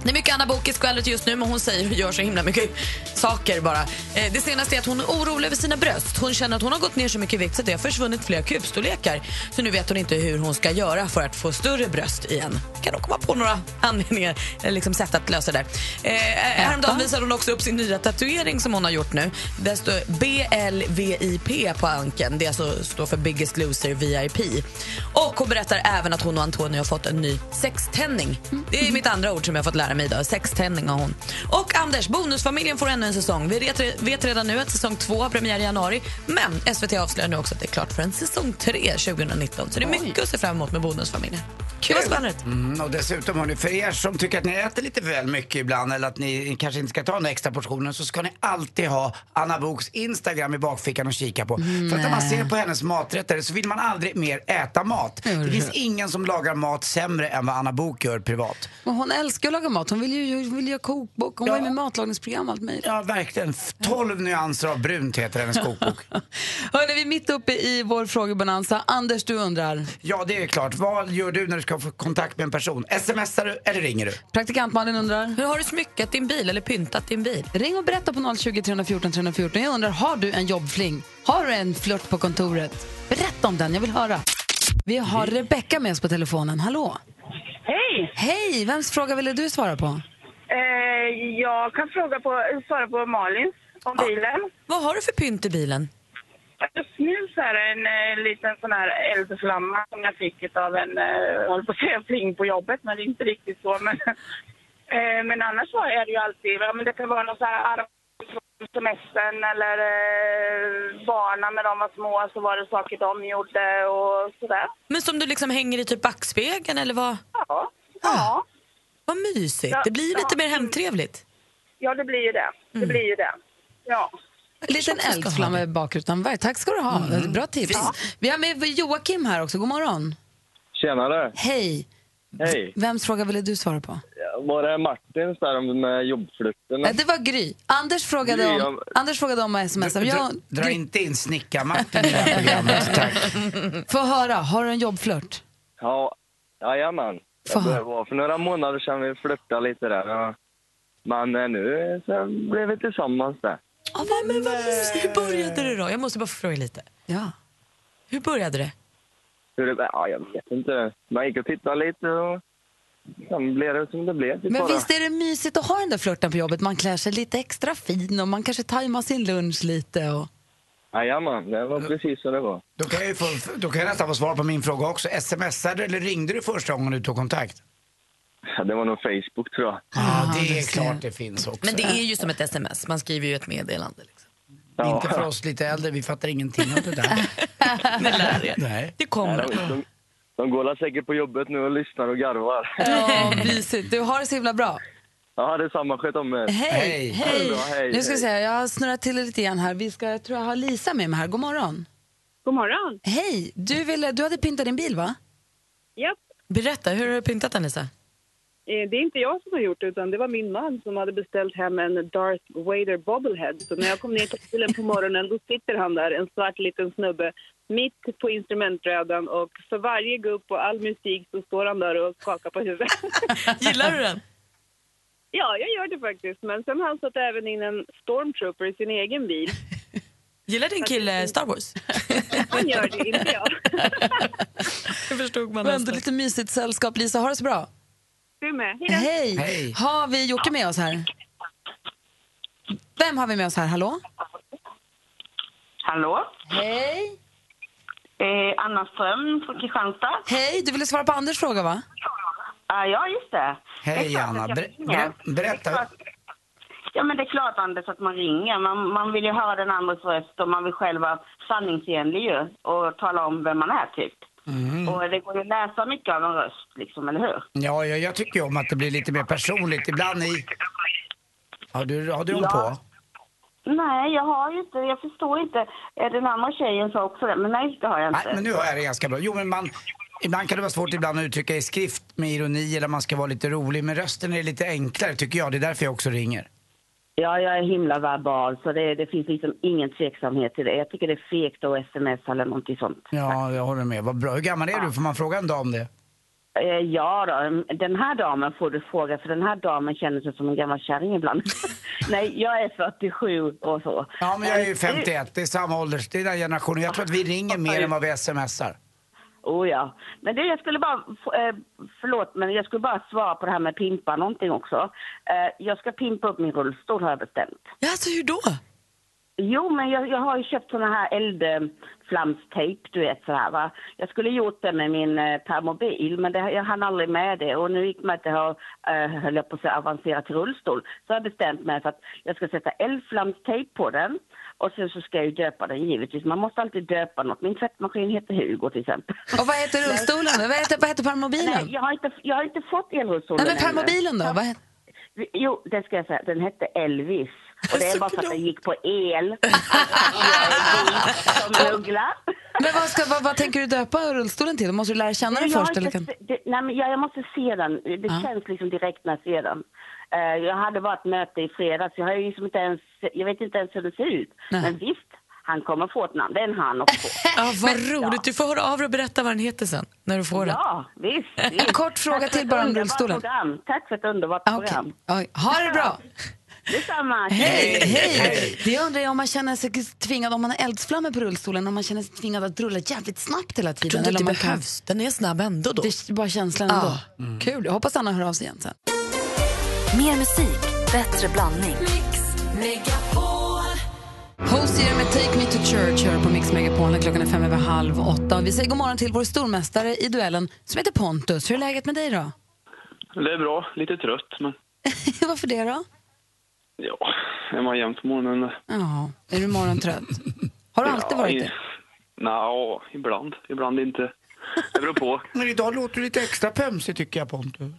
Speaker 4: Det är mycket Anna Book i skvallret just nu, men hon säger och gör så himla mycket saker bara. Eh, Det senaste är att hon är orolig över sina bröst. Hon känner att hon har gått ner så mycket i vikt så att det har försvunnit flera kupstorlekar. Så nu vet hon inte hur hon ska göra för att få större bröst igen. Kan hon komma på några anledningar, eller liksom sätt att lösa det där. Eh, Häromdagen visade hon också upp sin nya tatuering som hon har gjort nu. Där står BLVIP på ankeln. Det alltså står för Biggest Loser VIP. Och hon berättar även att hon och Antonio har fått en ny sextänning. Det är mitt andra ord som jag har fått lära mig idag. Sextänning har hon. Och Anders, Bonusfamiljen får ännu en säsong. Vi vet- vet redan nu att säsong två har premiär i januari. Men SVT avslöjar nu också att det är klart för en säsong tre 2019. Så det är mycket att se fram emot med Bonusfamiljen. Det var spännande.
Speaker 3: Mm, och dessutom hörni, för er som tycker att ni äter lite väl mycket ibland eller att ni kanske inte ska ta den där extra portionen så ska ni alltid ha Anna Boks Instagram i bakfickan och kika på. För att när man
Speaker 11: Nej.
Speaker 3: ser på hennes maträtter så vill man aldrig mer äta mat. Det finns ingen som lagar mat sämre än vad Anna Bok gör privat.
Speaker 1: Men hon älskar att laga mat. Hon vill ju vill göra kokbok. Hon var ju med i matlagningsprogram och allt möjligt.
Speaker 3: Ja, verkligen. 12 nyanser av brunt heter hennes kokbok.
Speaker 1: Hörrni, vi är mitt uppe i vår frågebonanza. Anders, du undrar.
Speaker 3: Ja, det är klart. Vad gör du när du ska få kontakt med en person? Smsar du eller ringer du?
Speaker 1: Praktikantmannen undrar.
Speaker 4: Hur har du smyckat din bil eller pyntat din bil?
Speaker 1: Ring och berätta på 020 314 314. Jag undrar, har du en jobbfling? Har du en flört på kontoret? Berätta om den, jag vill höra. Vi har Rebecka med oss på telefonen. Hallå!
Speaker 12: Hej!
Speaker 1: Hej! Vems fråga ville du svara på?
Speaker 12: Eh, jag kan fråga på, svara på Malins om bilen.
Speaker 4: Vad har du för pynt i bilen?
Speaker 12: Just nu så är det en eh, liten sån här eldflamma som jag fick av en, eh, jag höll på att säga fling på jobbet, men det är inte riktigt så. Men, eh, men annars så är det ju alltid, ja, men det kan vara någon så här arv från semestern eller eh, barnen när de var små så var det saker de gjorde och sådär.
Speaker 4: Men som du liksom hänger i typ backspegeln eller vad?
Speaker 12: Ja.
Speaker 13: Ah.
Speaker 4: ja. Vad mysigt.
Speaker 12: Ja,
Speaker 4: Det blir ju lite
Speaker 12: ja.
Speaker 4: mer hemtrevligt.
Speaker 12: Ja, det blir ju det. Det blir ju det. Ja.
Speaker 1: En liten eldflamma i bakrutan. Var- Tack ska du ha.
Speaker 12: Mm.
Speaker 1: Bra tips.
Speaker 12: Ja.
Speaker 1: Vi har med Joakim här också. God morgon.
Speaker 14: Tjenare!
Speaker 1: Hej.
Speaker 14: Hej!
Speaker 1: Vems fråga ville du svara på?
Speaker 14: Var det Martins där om med jobbflykten?
Speaker 1: Nej, det var Gry. Anders frågade
Speaker 14: Gry,
Speaker 1: om,
Speaker 14: jag-
Speaker 1: Anders frågade om att smsa.
Speaker 3: Dra,
Speaker 1: Jag,
Speaker 3: dra inte in snickarmakten i det här programmet, tack.
Speaker 1: får höra, har du en jobbflört?
Speaker 14: Ja, jajamän.
Speaker 1: Fan.
Speaker 14: Det var för några månader sedan vi flörtade lite där. ja. Men eh, nu så blev vi tillsammans där.
Speaker 4: Ja, men, men vad
Speaker 14: eh,
Speaker 4: mysigt.
Speaker 1: Eh.
Speaker 4: Hur började det då? Jag måste bara få fråga lite.
Speaker 1: Ja.
Speaker 4: Hur började det?
Speaker 14: Hur det, ja, jag vet inte. Man gick och tittade lite och sen blev det som det blev. typ
Speaker 1: Men
Speaker 14: bara.
Speaker 1: visst är det mysigt att ha den där flörten på jobbet? Man klär sig lite extra fin och man kanske tajmar sin lunch lite. Och...
Speaker 14: Jajamän, det var precis så det var.
Speaker 3: Då kan, jag ju få, då kan jag nästan få svar på min fråga också. Smsade eller ringde du första gången du tog kontakt?
Speaker 14: Ja, Det var nog Facebook tror jag.
Speaker 3: Ja, det är klart det finns också.
Speaker 4: Ah, Men det är ju som ett sms. Man skriver ju ett meddelande. Liksom.
Speaker 14: Ja.
Speaker 3: Inte för oss lite äldre, vi fattar ingenting av det där. Nej.
Speaker 4: Det kommer.
Speaker 14: Nej, de, de, de går säkert på jobbet nu och lyssnar och garvar.
Speaker 1: Ja, mysigt. Du har det så himla bra.
Speaker 14: Ja, detsamma. Sköt om er.
Speaker 1: Hej!
Speaker 14: Ha det bra, hej.
Speaker 1: Nu ska vi se, jag har snurrat till det lite igen här. Vi ska, jag tror jag har Lisa med mig här. God morgon.
Speaker 13: God morgon.
Speaker 1: Hej! Du, ville, du hade pyntat din bil, va?
Speaker 13: Japp.
Speaker 4: Berätta, hur har du pyntat den Lisa?
Speaker 13: Eh, Det är inte jag som har gjort det, utan det var min man som hade beställt hem en Darth Vader bobblehead. Så när jag kom ner till bilen på morgonen då sitter han där, en svart liten snubbe, mitt på instrumentbrädan och för varje gupp och all musik så står han där och skakar på huvudet.
Speaker 4: Gillar du den?
Speaker 13: Ja, jag gör det faktiskt. Men sen har han satt även in en stormtrooper i sin egen bil.
Speaker 4: Gillar din kille Star Wars?
Speaker 13: Han gör det, inte jag.
Speaker 4: Det förstod man
Speaker 1: Men ändå lite mysigt sällskap. Lisa, ha det så bra.
Speaker 13: Du med. Hej då.
Speaker 1: Hej! Har vi Jocke med oss här? Vem har vi med oss här? Hallå?
Speaker 15: Hallå?
Speaker 1: Hej!
Speaker 15: Eh, Anna Ström från Kristianstad.
Speaker 1: Hej, du ville svara på Anders fråga, va?
Speaker 15: Ah, ja, just det.
Speaker 3: Hej,
Speaker 15: Det är klart
Speaker 3: Anna.
Speaker 15: att jag
Speaker 3: Ber-
Speaker 15: ringer.
Speaker 3: ber- berätta.
Speaker 15: Det är klart- Ja, men det är klart, Anders, att man ringer. Man, man vill ju höra den andres röst och man vill själv vara sanningsenlig ju och tala om vem man är, typ.
Speaker 3: Mm.
Speaker 15: Och det går ju att läsa mycket av en röst, liksom, eller hur?
Speaker 3: Ja, jag, jag tycker ju om att det blir lite mer personligt. Ibland i... Har du radion
Speaker 15: Ja.
Speaker 3: på?
Speaker 15: Nej, jag har ju inte, jag förstår inte. Eh, Den andra tjejen sa också det, men nej, det har jag inte.
Speaker 3: Nej, men nu har jag det ganska bra. Jo, men man, ibland kan det vara svårt ibland att uttrycka i skrift med ironi eller man ska vara lite rolig. Men rösten är lite enklare tycker jag. Det är därför jag också ringer.
Speaker 15: Ja, jag är himla verbal, så det, det finns liksom ingen tveksamhet till det. Jag tycker det är fegt att smsa eller någonting sånt.
Speaker 3: Ja, jag håller med. Vad bra. Hur gammal är du? Får man fråga en dag om det?
Speaker 15: Eh, Ja då, den här damen får du fråga för den här damen känner sig som en gammal kärring ibland. Nej, jag är 47 och så. Eh,
Speaker 3: Ja, men jag är ju 51. Det är samma ålders... Det är den generationen. Jag tror att vi ringer mer än Eh, Ah, vad vi smsar.
Speaker 15: Oh ja. Men du, jag skulle bara, f- eh, förlåt, men jag skulle bara svara på det här med pimpa någonting också. Eh, Jag ska pimpa upp min rullstol har jag bestämt.
Speaker 4: Ja, så hur då?
Speaker 15: Jo, men jag, jag har ju köpt såna här eldflamstejp, du vet så här va. Jag skulle gjort det med min eh, permobil, men det, jag hann aldrig med det. Och nu gick man inte ha, eh, höll jag på att säga, avancerat till rullstol. Så har jag bestämt mig för att jag ska sätta eldflamstejp på den. Och sen så ska jag ju döpa den givetvis. Man måste alltid döpa något. Min tvättmaskin heter Hugo till exempel.
Speaker 1: Och vad heter rullstolen? Vad heter, vad heter permobilen?
Speaker 15: Nej, jag har inte, jag har inte fått elrullstolen
Speaker 1: Nej, men permobilen då? Vad heter?
Speaker 15: ännu. Jo, det ska jag säga. Den hette Elvis. Och det är bara för att den gick på el. Som Uggla.
Speaker 1: Men vad, ska, vad, vad tänker du döpa rullstolen till? Måste du lära känna den
Speaker 15: Jag har
Speaker 1: först? Eller
Speaker 15: inte
Speaker 1: kan...
Speaker 15: se- det, nej, men jag, jag måste se den. Det känns liksom direkt när jag ser den. Eh, jag hade varit möte i fredags. Jag, har ju liksom inte ens, jag vet inte ens hur det ser ut. Men visst, han kommer få ett namn. Det är en han också.
Speaker 4: Ja, vad roligt. Du får höra av dig och berätta vad den heter sen. När du får
Speaker 15: ja, visst. visst.
Speaker 4: En kort fråga
Speaker 15: Tack för
Speaker 4: till
Speaker 15: ett
Speaker 4: bara om Ah,
Speaker 15: underbart
Speaker 4: rullstolen.
Speaker 15: Program. Tack för ett underbart program.
Speaker 1: Oj, ha det bra!
Speaker 15: Detsamma.
Speaker 1: Hej! Hej! Det jag undrar är om man känner sig tvingad, om man har eldsflammor på rullstolen, om man känner sig tvingad att rulla jävligt snabbt hela tiden.
Speaker 4: tror inte
Speaker 1: om
Speaker 4: det
Speaker 1: man kan-
Speaker 4: behövs. Mm. Den är snabb ändå då.
Speaker 1: Det är bara känslan ändå. Kul, jag hoppas Anna hör av sig igen sen.
Speaker 6: Mer musik, bättre blandning.
Speaker 11: Megapol.
Speaker 1: Hosier med Take Me To Church hör på Mix Megapol när klockan är fem över halv åtta. Vi säger god morgon till vår stormästare i duellen som heter Pontus. Hur är läget med dig då?
Speaker 9: Det är bra, lite trött men
Speaker 1: Varför det då?
Speaker 9: ja, är man jämn på morgonen.
Speaker 1: Ja, är du morgontrött? Har du alltid varit det?
Speaker 9: Nja, ibland. Ibland inte. Det beror på.
Speaker 3: Men idag låter du lite extra pömsig tycker jag Pontus.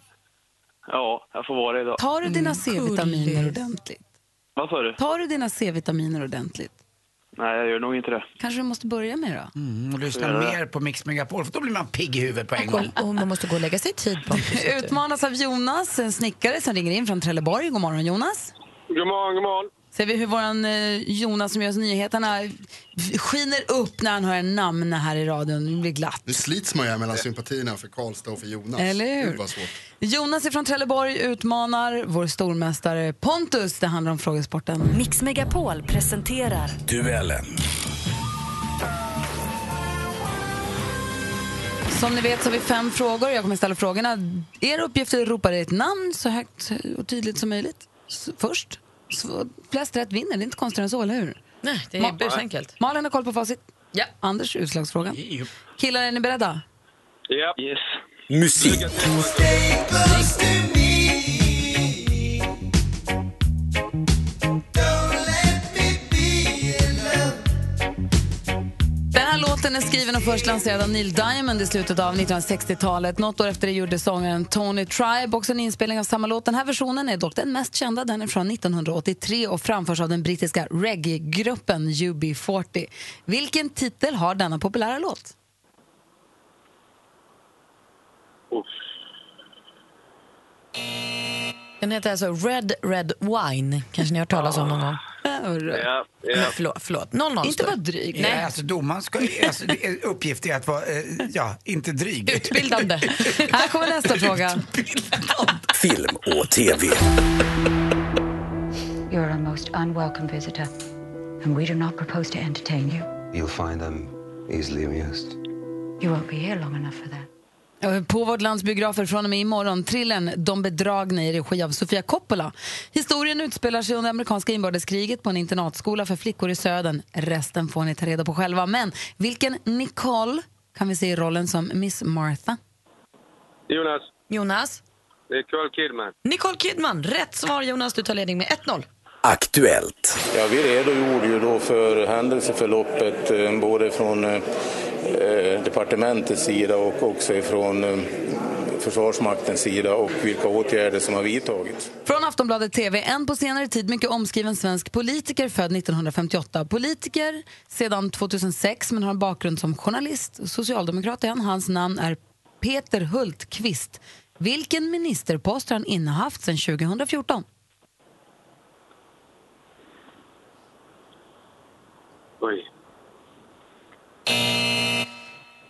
Speaker 9: Ja, jag får vara det idag.
Speaker 1: Tar du dina C-vitaminer ordentligt?
Speaker 9: Vad sa du?
Speaker 1: Tar du dina C-vitaminer ordentligt?
Speaker 9: Nej, jag gör nog inte det.
Speaker 1: Kanske du måste börja med då?
Speaker 3: Mm, och lyssna
Speaker 9: Ja.
Speaker 3: mer på Mix Megapol för då blir man pigg i huvudet på en gång.
Speaker 4: Och man måste gå och lägga sig i tid Pontus.
Speaker 1: Utmanas av Jonas, en snickare som ringer in från Trelleborg. God morgon Jonas.
Speaker 16: God morgon, god morgon.
Speaker 1: Ser vi hur våran eh, Jonas som gör oss nyheterna skiner upp när han hör en namn här i radion. Det blir glatt.
Speaker 2: Nu slits man ju här mellan sympatierna för Karlstad och för Jonas.
Speaker 1: Eller hur?
Speaker 2: Gud, vad svårt.
Speaker 1: Jonas ifrån Trelleborg utmanar vår stormästare Pontus. Det handlar om frågesporten.
Speaker 6: Mix Megapol presenterar
Speaker 10: Duellen.
Speaker 1: Som ni vet så har vi fem frågor. Jag kommer ställa frågorna. Er uppgift är att ropa ert namn så högt och tydligt som möjligt S- först. Så flest rätt vinner. Det är inte konstigare än så, eller hur?
Speaker 4: Nej, det
Speaker 1: Ma-
Speaker 4: är busenkelt.
Speaker 1: Malin har koll på facit. Ja. Anders, utslagsfrågan. Killar, är ni beredda?
Speaker 16: Ja. Yes.
Speaker 10: Musik.
Speaker 1: Den här låten är skriven och först lanserad av Neil Diamond i slutet av 1960-talet. Något år efter det gjorde sångaren Tony Tribe också en inspelning av samma låt. Den här versionen är dock den mest kända. Den är från 1983 och framförs av den brittiska reggae-gruppen UB40. Vilken titel har denna populära låt?
Speaker 4: Den heter alltså Red Red Wine. Kanske ni har hört talas om någon gång?
Speaker 9: Ja,
Speaker 4: ja. Förlåt, förlåt. 0-0
Speaker 1: Inte vara dryg.
Speaker 3: Nej.
Speaker 4: Nej.
Speaker 3: alltså domaren ska ju, alltså, det är- uppgift är att vara, eh, ja, inte dryg.
Speaker 1: Utbildande. Här kommer nästa fråga.
Speaker 10: Film och TV.
Speaker 17: You're a most unwelcome visitor, and we do not propose to entertain you.
Speaker 18: You'll find I'm easily amused.
Speaker 17: You won't be here long enough for that.
Speaker 1: Eh, På vårt lands biografer från och med imorgon trillen De bedragna i regi av Sofia Coppola. Historien utspelar sig under amerikanska inbördeskriget på en internatskola för flickor i södern. Resten får ni ta reda på själva. Men vilken Nicole kan vi se i rollen som Miss Martha?
Speaker 16: Jonas,
Speaker 4: Jonas?
Speaker 16: det är Nicole Kidman.
Speaker 4: Nicole Kidman. Rätt svar Jonas, du tar ledning med 1-0.
Speaker 10: Aktuellt.
Speaker 19: Ja, vi redogjorde ju då för händelseförloppet eh, både från eh, eh, departementets sida och också ifrån eh, Försvarsmaktens sida och vilka åtgärder som har vidtagits.
Speaker 1: Från Aftonbladet TV, en på senare tid mycket omskriven svensk politiker född 1958. Politiker sedan 2006 men har en bakgrund som journalist. Socialdemokrat är han. Hans namn är Peter Hultqvist. Vilken ministerpost har han innehaft sedan 2014?
Speaker 16: Oj.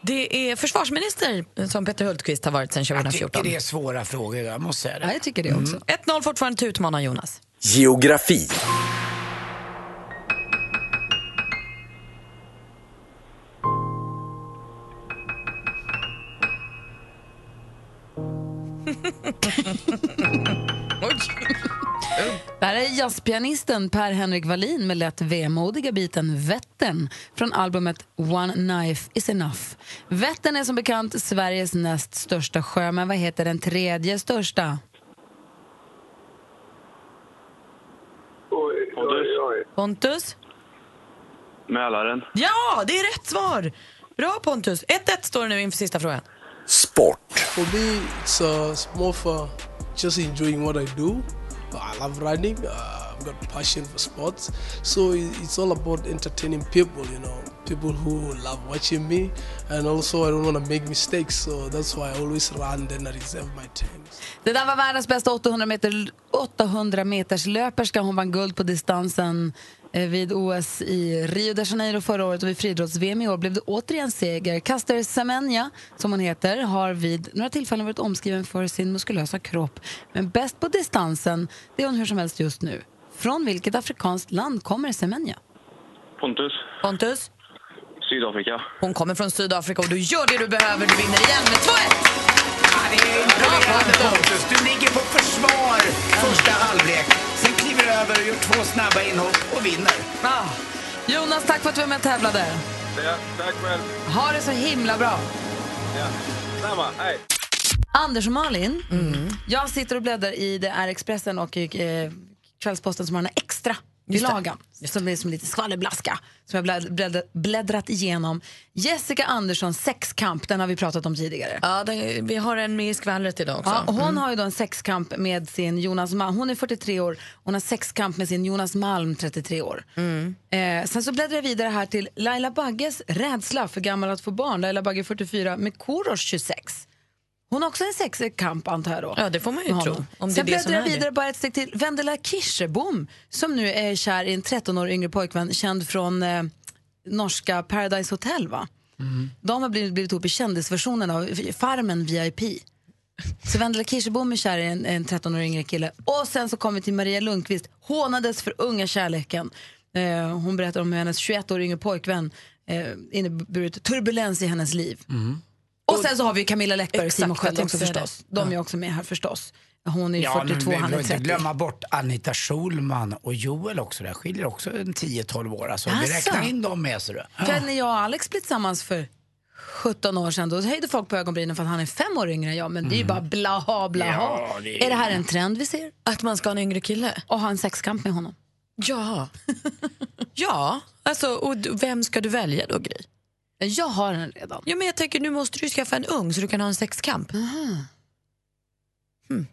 Speaker 4: Det är försvarsminister som Peter Hultqvist har varit sedan
Speaker 3: Jag
Speaker 4: 2014.
Speaker 3: tycker det är svåra frågor, jag måste säga det.
Speaker 1: jag tycker det också.
Speaker 4: 1-0 fortfarande till utmanaren Jonas.
Speaker 10: Geografi.
Speaker 1: Där är jazzpianisten Per-Henrik Wallin med lätt vemodiga biten Vättern från albumet One Knife Is Enough. Vättern är som bekant Sveriges näst största sjö, men vad heter den tredje största? Pontus?
Speaker 16: Mälaren.
Speaker 4: Ja, det är rätt svar! Bra Pontus. 1-1 står det nu inför sista frågan.
Speaker 10: Sport.
Speaker 20: For me, it's, uh, it's more for just enjoying what I do. I love running. Uh, I've got passion for sports, so i- it's all about entertaining people. You know, people who love watching me, and also I don't want to make mistakes, so that's why I always run. Then I reserve my time.
Speaker 1: Det där var världens bästa 800, meter, 800 meters löperska. Hon vann guld på distansen eh, vid OS i Rio de Janeiro förra året och vid friidrotts-VM i år blev det återigen seger. Caster Semenya, som hon heter, har vid några tillfällen varit omskriven för sin muskulösa kropp. Men bäst på distansen, det är hon hur som helst just nu. Från vilket afrikanskt land kommer Semenya?
Speaker 16: Pontus.
Speaker 4: Pontus?
Speaker 16: Sydafrika.
Speaker 4: Hon kommer från Sydafrika och du gör det du behöver. Du vinner igen med 2-1.
Speaker 3: Imponerande, Pontus. Du ligger på försvar första halvlek, sen kliver du över och gör två snabba inhopp och vinner.
Speaker 1: Ah. Jonas, tack för att du var med och tävlade.
Speaker 5: Ja, tack själv.
Speaker 1: Ha det så himla bra.
Speaker 5: Ja. Samma, hej.
Speaker 1: Anders och Malin, jag sitter och bläddrar i det är Expressen och eh, Kvällsposten som har en extra bilaga som är som lite skvallerblaska som jag blädd, blädd, bläddrat igenom. Jessica Anderssons sexkamp, den har vi pratat om tidigare.
Speaker 4: Ja, den, vi har en med i skvallret idag också.
Speaker 1: Ja, och hon
Speaker 4: Mm.
Speaker 1: har ju då en sexkamp med sin Jonas Malm. Hon är 43 år, hon har sexkamp med sin Jonas Malm, 33 år.
Speaker 4: Mm.
Speaker 1: Eh, sen så bläddrar jag vidare här till Laila Bagges rädsla för gammal att få barn. Laila Bagge 44 med Korosh 26. Hon har också en sexkamp antar jag då.
Speaker 4: Ja, det får man ju
Speaker 1: Med
Speaker 4: tro,
Speaker 1: honom.
Speaker 4: om det är
Speaker 1: Sen
Speaker 4: det som
Speaker 1: bläddrar jag
Speaker 4: är det.
Speaker 1: vidare bara ett steg till. Vendela Kirsebom som nu är kär i en 13 år yngre pojkvän känd från eh, norska Paradise Hotel va?
Speaker 4: Mm.
Speaker 1: De har blivit, blivit ihop i kändisversionen av Farmen VIP. Så Vendela Kirsebom är kär i en, en 13 år yngre kille. Och sen så kommer vi till Maria Lundqvist, hånades för unga kärleken. Eh, hon berättar om hur hennes 21 år yngre pojkvän eh, inneburit turbulens i hennes liv. Och sen så har vi Camilla Läckberg och
Speaker 4: Exakt,
Speaker 1: Simon
Speaker 4: jag
Speaker 1: Sköld
Speaker 4: tänkte
Speaker 1: också
Speaker 4: säga det.
Speaker 1: förstås. De är också med här förstås. Hon är ju
Speaker 3: Ja, men
Speaker 1: 42,
Speaker 3: vi
Speaker 1: han
Speaker 3: behöver
Speaker 1: är
Speaker 3: inte
Speaker 1: 30.
Speaker 3: glömma bort Anita Schulman och Joel också. Det skiljer också en 10-12 år. Alltså. Vi
Speaker 1: Asså?
Speaker 3: räknar in dem med. Så du.
Speaker 1: För när jag och Alex blev tillsammans för 17 år sedan, då höjde folk på ögonbrynen för att han är fem år yngre än jag. Men det är ju bara blaha, blaha.
Speaker 4: Ja, det är-
Speaker 1: är... det här en trend vi ser?
Speaker 4: Att man ska ha en yngre kille?
Speaker 1: Och ha en sexkamp med honom.
Speaker 4: Ja. ja, alltså, och du- vem ska du välja då, Gry?
Speaker 1: Jag har en redan.
Speaker 4: Ja, men jag tänker, nu måste du skaffa en ung så du kan ha en sexkamp. Hmm.
Speaker 1: Aha.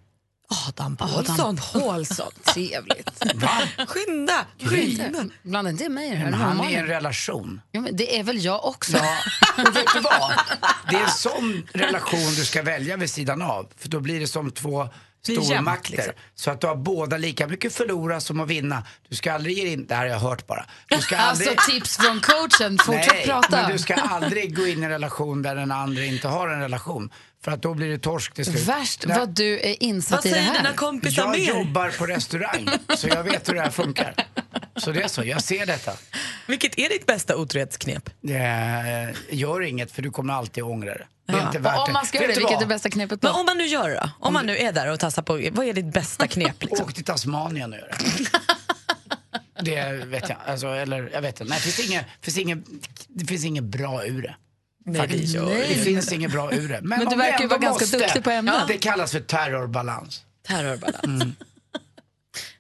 Speaker 4: Adam Pålsson.
Speaker 1: Paulsson. Trevligt.
Speaker 4: Skynda!
Speaker 1: Skynda. Blanda inte in mig i det här.
Speaker 3: Men han är i en
Speaker 1: Malin.
Speaker 3: relation.
Speaker 1: Ja, men det är väl jag också.
Speaker 3: Det är en sån relation du ska välja vid sidan av. För då blir det som två
Speaker 1: Blir jämnt,
Speaker 3: stormakter.
Speaker 1: liksom.
Speaker 3: Så att du har båda lika mycket förlora som att vinna. Du ska aldrig ge in, det här har jag hört bara. Du ska
Speaker 1: Alltså
Speaker 3: aldrig,
Speaker 1: tips från coachen. Fortsätt
Speaker 3: Nej,
Speaker 1: prata.
Speaker 3: men du ska aldrig gå in i en relation där den andra inte har en relation. För att då blir det torsk till slut.
Speaker 1: Värst
Speaker 3: Nej.
Speaker 1: vad du är insatt i det här.
Speaker 3: jag jobbar på restaurang, så jag vet hur det här funkar. Så det är så, jag ser detta.
Speaker 4: Vilket är ditt bästa otrohetsknep?
Speaker 3: Eh, gör inget, för du kommer alltid ångra det. Det är inte
Speaker 1: Och
Speaker 3: värt
Speaker 1: om man ska
Speaker 3: Vet
Speaker 1: göra det,
Speaker 3: du
Speaker 1: vilket är
Speaker 3: vad?
Speaker 1: det bästa knepet
Speaker 4: Men
Speaker 1: då?
Speaker 4: om man nu gör det då? Om man nu är där och tassar på, vad är ditt bästa knep? Liksom?
Speaker 3: Åk till Tasmanien och gör det. Det vet jag. Alltså, eller, jag vet inte. Nej, det, finns inget, finns inget, det finns inget bra ur det.
Speaker 4: Nej,
Speaker 3: Faktiskt.
Speaker 4: det gör det
Speaker 3: det
Speaker 4: inte.
Speaker 3: finns inget bra ur det.
Speaker 1: Men du
Speaker 3: om
Speaker 1: verkar ju
Speaker 3: vi ändå
Speaker 1: vara ganska duktig på ämnet.
Speaker 3: Ja, Det kallas för terrorbalans.
Speaker 4: Terrorbalans.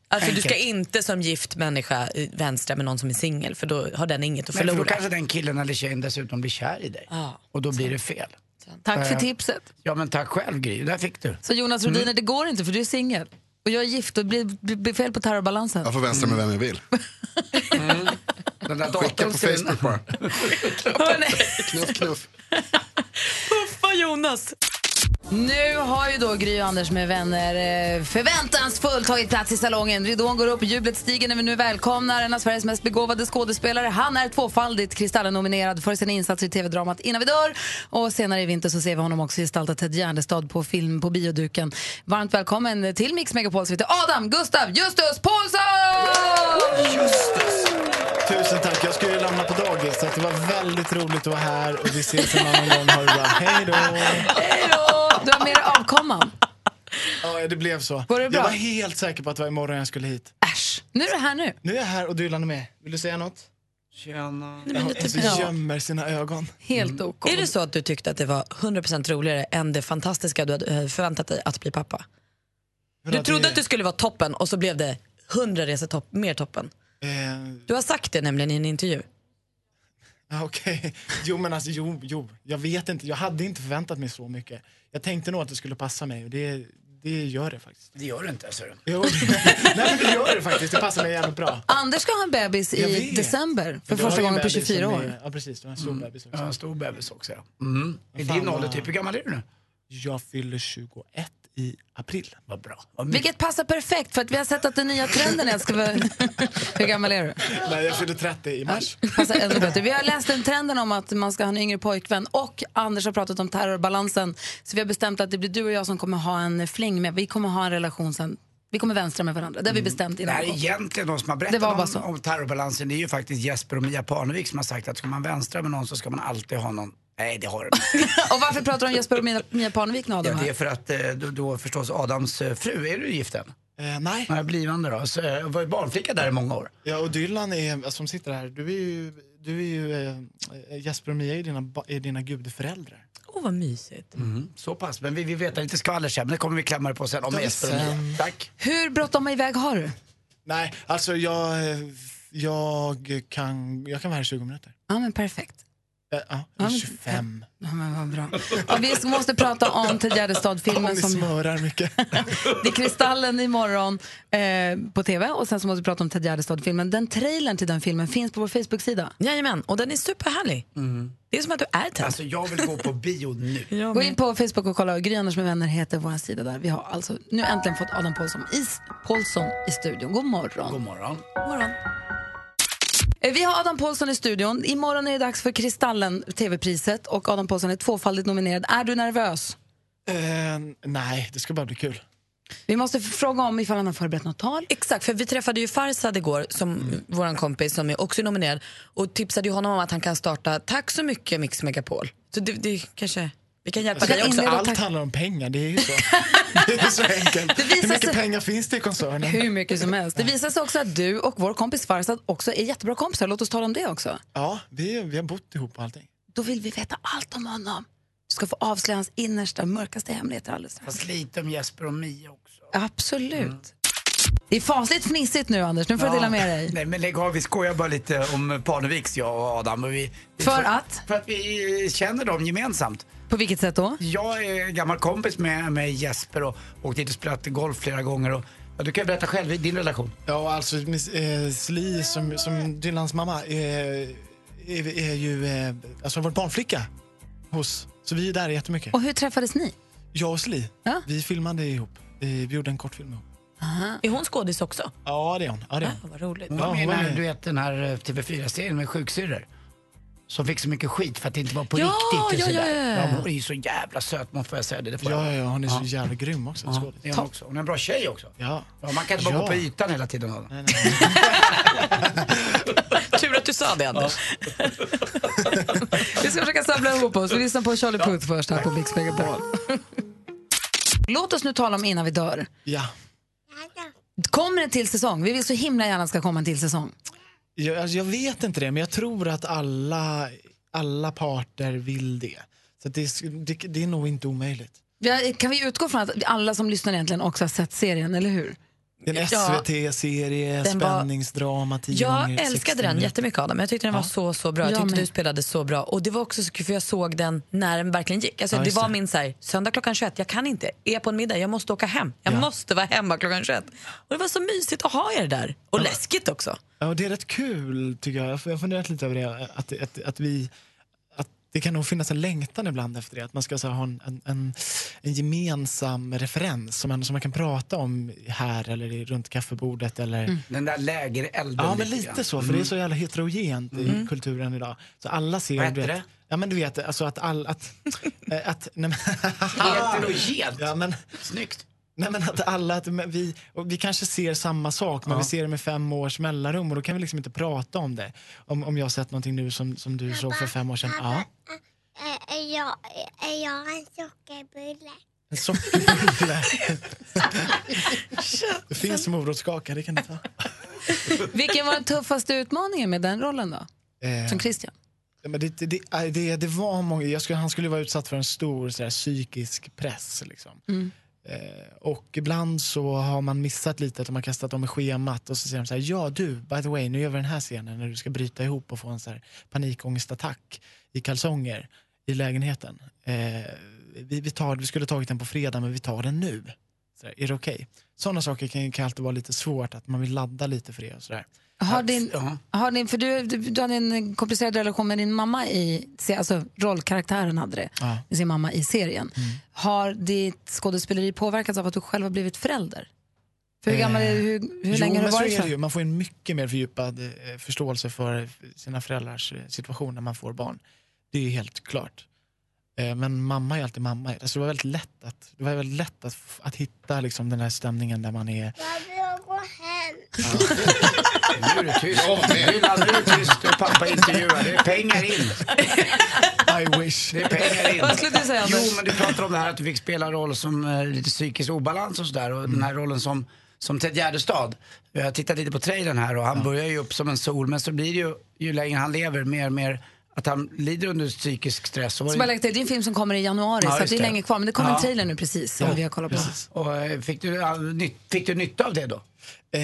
Speaker 4: Alltså du ska
Speaker 3: Enkelt.
Speaker 4: inte som gift människa eh, vänstra med någon som är singel för då har den inget att
Speaker 3: Men för då
Speaker 4: förlora.
Speaker 3: kanske den killen eller tjejen dessutom blir kär i dig.
Speaker 4: Ja.
Speaker 3: Och då blir det fel.
Speaker 1: Tack för
Speaker 3: Eh,
Speaker 1: tipset.
Speaker 3: Ja Mm. men tack själv Gry, där fick du.
Speaker 1: Så Jonas Rhodiner, det går inte för du är singel. Och jag är gift och det blir, blir blir fel på terrorbalansen.
Speaker 2: Jag får vänstra med vem jag vill.
Speaker 3: Den där
Speaker 2: Skicka
Speaker 3: datorn
Speaker 2: på
Speaker 3: ser-
Speaker 2: Facebook bara. knuff, knuff.
Speaker 4: Puffa Jonas!
Speaker 1: Nu har ju då Gry och Anders med vänner eh, förväntansfullt tagit plats i salongen. Ridån går upp, jublet stiger när vi nu välkomnar en av Sveriges mest begåvade skådespelare. Han är tvåfaldigt Kristallen-nominerad för sina insatser i tv-dramat Innan vi dör. Och senare i vinter så ser vi honom också gestalta Ted Gärdestad på film på bioduken. Varmt välkommen till Mix Megapol som heter Adam Gustav Justus Paulsson!
Speaker 21: Tusen tack. Jag ska ju lämna på dagis, så att det var väldigt roligt att vara här. Och vi ses en annan gång. Ha det bra. Hej då!
Speaker 1: Hej då! Du har mer avkomman.
Speaker 21: Ja, det blev så.
Speaker 1: Går det bra?
Speaker 21: Jag var helt säker på att det var imorgon jag skulle hit.
Speaker 1: Äsch. Nu är du här nu.
Speaker 21: Nu är jag här och Dylan är med. Vill du säga något?
Speaker 3: Tjena.
Speaker 21: Nej, men lite
Speaker 4: bra.
Speaker 21: gömmer sina ögon.
Speaker 1: Helt
Speaker 21: Mm.
Speaker 1: OK.
Speaker 4: Är det så att du tyckte att det var 100% roligare än det fantastiska du hade eh, förväntat dig att bli pappa? Du
Speaker 21: Vadå,
Speaker 4: trodde
Speaker 21: det-
Speaker 4: att du skulle vara toppen och så blev det 100 resor topp, mer toppen.
Speaker 21: Eh,
Speaker 4: Du har sagt det nämligen i en intervju.
Speaker 21: Ja, Okej. Jo, men alltså, jo, jo. Jag vet inte. Jag hade inte förväntat mig så mycket. Jag tänkte nog att det skulle passa mig och det, det gör det faktiskt.
Speaker 3: Det gör det inte alltså.
Speaker 21: Jo, nej, men det gör det faktiskt. Det passar mig jävligt bra.
Speaker 1: Anders ska ha en bebis
Speaker 21: Jag
Speaker 1: i
Speaker 21: vet.
Speaker 1: december för
Speaker 21: Du har
Speaker 1: första
Speaker 21: ju en
Speaker 1: gången på
Speaker 21: bebis
Speaker 1: 24
Speaker 21: som
Speaker 1: år.
Speaker 21: Är, ja, precis. Du har en stor bebis också.
Speaker 3: Ja, en stor bebis också. Ja. Mm. I
Speaker 21: Fan,
Speaker 3: din ålder
Speaker 21: vad-
Speaker 3: typ, hur gammal är du nu?
Speaker 21: Jag fyller 21 i april.
Speaker 3: Vad bra.
Speaker 1: Vilket passar perfekt för att vi har sett att den nya trenden är att ska vara... Hur gammal är du?
Speaker 21: Nej, jag fyller 30 i mars.
Speaker 1: Passar ännu bättre. Vi har läst den trenden om att man ska ha en yngre pojkvän och Anders har pratat om terrorbalansen. Så vi har bestämt att det blir du och jag som kommer ha en fling med. Vi kommer ha en relation sen. Vi kommer vänstra med varandra. Det har vi
Speaker 4: Mm.
Speaker 1: bestämt
Speaker 3: Det
Speaker 1: innan.
Speaker 3: här är egentligen de som har
Speaker 1: Det
Speaker 3: berättat
Speaker 1: var bara
Speaker 3: om, om terrorbalansen. Det är ju faktiskt Jesper och Mia Parnevik som har sagt att ska man vänstra med någon så ska man alltid ha någon. Nej, det har de inte.
Speaker 1: Och varför pratar du om Jesper och Mia- Mia Parnevik nu
Speaker 3: Ja,
Speaker 1: Adam?
Speaker 3: det är för att eh, då, då förstås Adams eh, fru, är du gift än?
Speaker 21: Eh, nej.
Speaker 3: Nej, blivande då. Så, eh, jag var ju barnflicka där i många år.
Speaker 21: Ja, och Dylan är, alltså, som sitter här, du är ju, du är ju eh, Jesper och Mia är dina, ba- är dina gudföräldrar.
Speaker 4: Åh, vad mysigt.
Speaker 3: Mm, så pass. Men vi vill veta lite skvaller sen, men det kommer vi klämma det på sen. Om
Speaker 21: Ja,
Speaker 3: Jesper och Mia.
Speaker 21: sen.
Speaker 3: Tack.
Speaker 1: Hur bråttom iväg har du?
Speaker 21: Nej, alltså jag, eh, jag, kan, jag kan vara här i 20 minuter.
Speaker 1: Ja, men perfekt.
Speaker 21: Eh, Ja,
Speaker 1: Ja,
Speaker 21: eller
Speaker 1: men-
Speaker 21: 25.
Speaker 1: Ja, men vad bra. Ja, vi måste prata om Ted
Speaker 21: Om
Speaker 1: Gärdestad-filmen
Speaker 21: ni
Speaker 1: som...
Speaker 21: smörar mycket.
Speaker 1: Det är Kristallen imorgon eh, på tv och sen så måste vi prata om Ted Gärdestad-filmen. Den trailern till den filmen finns på vår Facebook-sida.
Speaker 4: Jajamän, och den är superhärlig. Det är som att du är Ted.
Speaker 3: Alltså, jag vill gå på bio nu.
Speaker 1: Gå in på Facebook och kolla. Gry Anders med vänner heter vår sida där. Vi har alltså nu äntligen fått Adam Paulsson i, Paulsson i studion. God morgon.
Speaker 3: God morgon.
Speaker 1: morgon. Eh, Vi har Adam Paulsson i studion. Imorgon är det dags för Kristallen, tv-priset. Och Adam Paulsson är tvåfaldigt nominerad. Är du nervös?
Speaker 21: Eh, nej, det ska bara bli kul.
Speaker 1: Vi måste fråga om ifall han har förberett något tal.
Speaker 4: Exakt, för vi träffade ju Farzad igår, som vår kompis som är också nominerad och tipsade ju honom om att han kan starta Tack så mycket Mix Megapol. Så det, det kanske, vi kan hjälpa
Speaker 21: Alltså,
Speaker 4: dig också.
Speaker 21: allt handlar om pengar, det är ju så. det är så enkelt. Hur mycket pengar finns det i koncernen?
Speaker 1: Hur mycket som helst. Det visar sig också att du och vår kompis Farzad också är jättebra kompisar. Låt oss tala om det också.
Speaker 21: Ja, vi, vi har bott ihop och allting.
Speaker 1: Då vill vi veta allt om honom. Du ska få avslöja hans innersta, mörkaste hemligheter alldeles strax.
Speaker 3: Fast lite om Jesper och Mia också.
Speaker 1: Mm. Absolut. Det är fasligt fnissigt nu, Anders. Nu får jag dela med dig.
Speaker 3: Nej, men lägg av. Vi skojar bara lite om Parneviks, jag och Adam. Och vi, vi
Speaker 1: För att?
Speaker 3: För att vi eh, känner dem gemensamt.
Speaker 1: På vilket sätt då?
Speaker 3: Jag är en gammal kompis med, med Jesper och åkt dit och spelat golf flera gånger. Och, ja, du kan ju berätta själv, i din relation.
Speaker 21: Ja, alltså miss, eh, Sli som, som Dylans mamma eh, är, är ju, eh, alltså har varit barnflicka hos, så vi är där jättemycket.
Speaker 1: Och hur träffades ni?
Speaker 21: Jag och Sli, vi filmade ihop. Eh, vi gjorde en kortfilm ihop.
Speaker 4: Är hon skådis också?
Speaker 21: Ja, det är hon. Ja, det är
Speaker 4: hon. vad roligt.
Speaker 3: Hon var med i den här, du vet, den här eh, TV4-serien med sjuksyrror. Som fick så mycket skit för att det inte var på
Speaker 21: Ja,
Speaker 3: riktigt.
Speaker 21: ja,
Speaker 3: och sådär.
Speaker 21: ja, ja.
Speaker 3: Ja, hon är ju så jävla söt, man får jag säga det. det får
Speaker 21: Ja,
Speaker 3: jag.
Speaker 21: ja, ja, hon är så
Speaker 3: Ja.
Speaker 21: jävla grym också.
Speaker 3: Ja,
Speaker 21: skådis.
Speaker 3: det är hon, också. hon är en bra tjej också.
Speaker 21: Ja.
Speaker 3: Ja, man kan inte bara
Speaker 21: Ja.
Speaker 3: gå på ytan hela tiden. Adam.
Speaker 4: Tur att du sa det, Anders.
Speaker 1: Vi ska försöka samla ihop oss. Vi lyssnar på Charlie Puth först här på Mix Megapol. Låt oss nu tala om innan vi dör.
Speaker 21: Ja.
Speaker 1: Kommer en till säsong? Vi vill så himla gärna att det ska komma en till säsong.
Speaker 21: Jag, alltså, jag vet inte det, men jag tror att alla, alla parter vill det. Så att det, är- det, det är nog inte omöjligt.
Speaker 1: Vi har- Kan vi utgå från att alla som lyssnar egentligen också har sett serien, eller hur?
Speaker 21: Det är en
Speaker 1: Ja.
Speaker 21: SVT-serie,
Speaker 1: Den var-
Speaker 21: spänningsdrama, 10
Speaker 4: Jag
Speaker 21: gånger 60
Speaker 4: älskade den
Speaker 21: minuter.
Speaker 4: jättemycket Adam. Jag tyckte den var så, så bra. Jag
Speaker 1: Jag
Speaker 4: tyckte
Speaker 1: med.
Speaker 4: du spelade så bra. Och det var också så kul för jag såg den när den verkligen gick. Alltså,
Speaker 1: Ja,
Speaker 4: det
Speaker 1: just
Speaker 4: var
Speaker 1: det.
Speaker 4: min så här, söndag klockan 21, jag kan inte. Är jag på en middag, jag måste åka hem. Jag måste vara hemma klockan 21. Och det var så mysigt att ha er där. Och läskigt också.
Speaker 21: Ja, och det är rätt kul tycker jag. Jag har funderat lite över det. Att, att, att vi... Att det kan nog finnas en längtan ibland efter det. Att man ska så här, ha en, en, en, en gemensam referens som man, som man kan prata om här eller i- runt kaffebordet. Eller...
Speaker 3: Den där lägerelden.
Speaker 21: Ja, men lite så. För det är så jävla heterogent i
Speaker 3: Mm.
Speaker 21: kulturen idag. Så alla ser...
Speaker 3: Vad
Speaker 21: du
Speaker 3: heter
Speaker 21: vet, Ja, men du vet, alltså att all... Att, eh, att, nej, men,
Speaker 3: Heterogent.
Speaker 21: Ja, men,
Speaker 3: Snyggt.
Speaker 21: Nej, men att alla, att men vi, och vi kanske ser samma sak, men
Speaker 3: Ja.
Speaker 21: vi ser det med fem års mellanrum och då kan vi liksom inte prata om det. Om, om jag har sett någonting nu som, som du såg för fem år sedan. Ja,
Speaker 8: Är jag, är jag en sockerbulle?
Speaker 21: en sockerbulle. det finns morotskaka, det kan du ta.
Speaker 1: Vilken var den tuffaste utmaningen med den rollen då?
Speaker 21: Eh,
Speaker 1: Som Christian?
Speaker 21: ja, men det, det, det, äh, det, det var många, jag skulle, han skulle vara utsatt för en stor så där, psykisk press. Liksom.
Speaker 1: Mm.
Speaker 21: Eh, och ibland så har man missat lite, att de har kastat om i schemat och så säger de så här, ja du, by the way, nu gör vi den här scenen när du ska bryta ihop och få en så här panikångestattack i kalsonger i lägenheten. Eh, vi, vi, tar, vi skulle tagit den på fredag men vi tar den nu. Så där, är det okej? Sådana saker kan, kan alltid vara lite svårt, att man vill ladda lite för det och sådär.
Speaker 1: Har din, har din, för du, du, du hade en komplicerad relation med din mamma i, se- alltså rollkaraktären hade det,
Speaker 21: Ja. Mm.
Speaker 1: med sin mamma i serien. Har ditt skådespeleri påverkats av att du själv har blivit förälder? För hur gammal är du? Hur, hur
Speaker 21: Eh, jo,
Speaker 1: länge har
Speaker 21: men
Speaker 1: du
Speaker 21: så
Speaker 1: varit
Speaker 21: är det ju.
Speaker 1: förälder?
Speaker 21: Man får en mycket mer fördjupad eh, förståelse för sina föräldrars eh, situation när man får barn. Det är ju helt klart. Eh, Men mamma är alltid mamma. Alltså det var väldigt lätt att, det var väldigt lätt att, f- att hitta liksom den här stämningen där man är...
Speaker 8: Jag vill gå hem.
Speaker 3: Nu är du tyst. Dylan, nu är du tyst. Du är pappa intervjuar. Det är pengar in.
Speaker 21: I wish.
Speaker 3: Det är pengar in.
Speaker 1: Vad skulle du säga,
Speaker 3: Jo,
Speaker 1: Anders?
Speaker 3: men du pratar om det här att du fick spela roll som eh, lite psykisk obalans och sådär. Och den här rollen som som Ted Gärdestad. Jag har tittat lite på trailern här och han börjar ju upp som en sol men så blir det ju, ju längre han lever, mer och mer att han lider under psykisk stress. Och var
Speaker 1: Som
Speaker 3: det-
Speaker 1: jag lagt till, det är en film som kommer i januari
Speaker 3: Ja,
Speaker 1: så att
Speaker 3: just
Speaker 1: det är
Speaker 3: det.
Speaker 1: länge kvar. Men det kommer
Speaker 3: Ja.
Speaker 1: en trailer nu precis som vi har kollat på.
Speaker 3: Och, eh, fick, du, ja, nytt- fick du nytta av det då?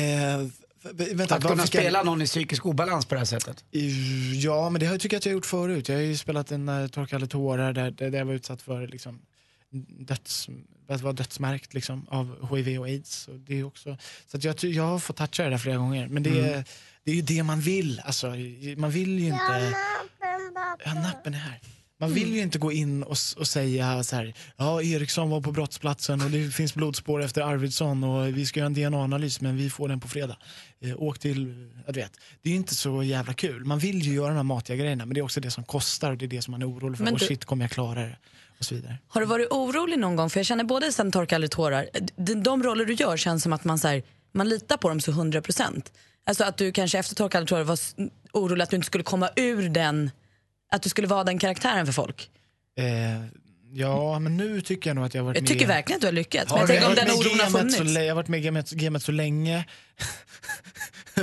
Speaker 21: eh,
Speaker 15: vänta,
Speaker 3: att
Speaker 15: vad
Speaker 3: kunna
Speaker 15: fick jag-
Speaker 3: spela någon i psykisk obalans på det här sättet?
Speaker 15: Eh, Ja, men det har jag tycker jag att jag har gjort förut. Jag har ju spelat en eh, Torka alla tårar där, där där jag var utsatt för liksom, döds, att vara dödsmärkt liksom, av hiv och aids. Och det är också, så att jag, ty- jag har fått toucha det där flera gånger. Men det,
Speaker 3: Mm.
Speaker 15: är, det är ju det man vill. Alltså, i- man vill ju inte... Ja, nappen är här. Man vill ju inte gå in och, s- och säga så här, ja Eriksson var på brottsplatsen och det finns blodspår efter Arvidsson och vi ska göra en DNA-analys men vi får den på fredag. Eh, åk till, ja, du vet. Det är ju inte så jävla kul. Man vill ju göra de här matiga grejerna men det är också det som kostar och det är det som man är orolig för.
Speaker 4: Men
Speaker 15: Och
Speaker 4: du-
Speaker 15: shit, kommer jag klara det? Och så vidare.
Speaker 4: Har du varit orolig någon gång? För jag känner både sen torka aldrig tårar, de, de roller du gör känns som att man, så här, man litar på dem så 100 procent. Alltså att du kanske efter torka aldrig tårar var s- orolig att du inte skulle komma ur den, att du skulle vara den karaktären för folk.
Speaker 15: Eh, ja, men nu tycker jag nog att jag har varit
Speaker 4: Jag tycker
Speaker 15: med...
Speaker 4: verkligen att du har lyckats.
Speaker 15: Har
Speaker 4: Men jag
Speaker 15: du-
Speaker 4: tänker om den
Speaker 15: jag har varit med
Speaker 4: oron har
Speaker 15: gamet så
Speaker 4: funnits.
Speaker 15: lä- Jag har varit med i gamet, gamet så länge.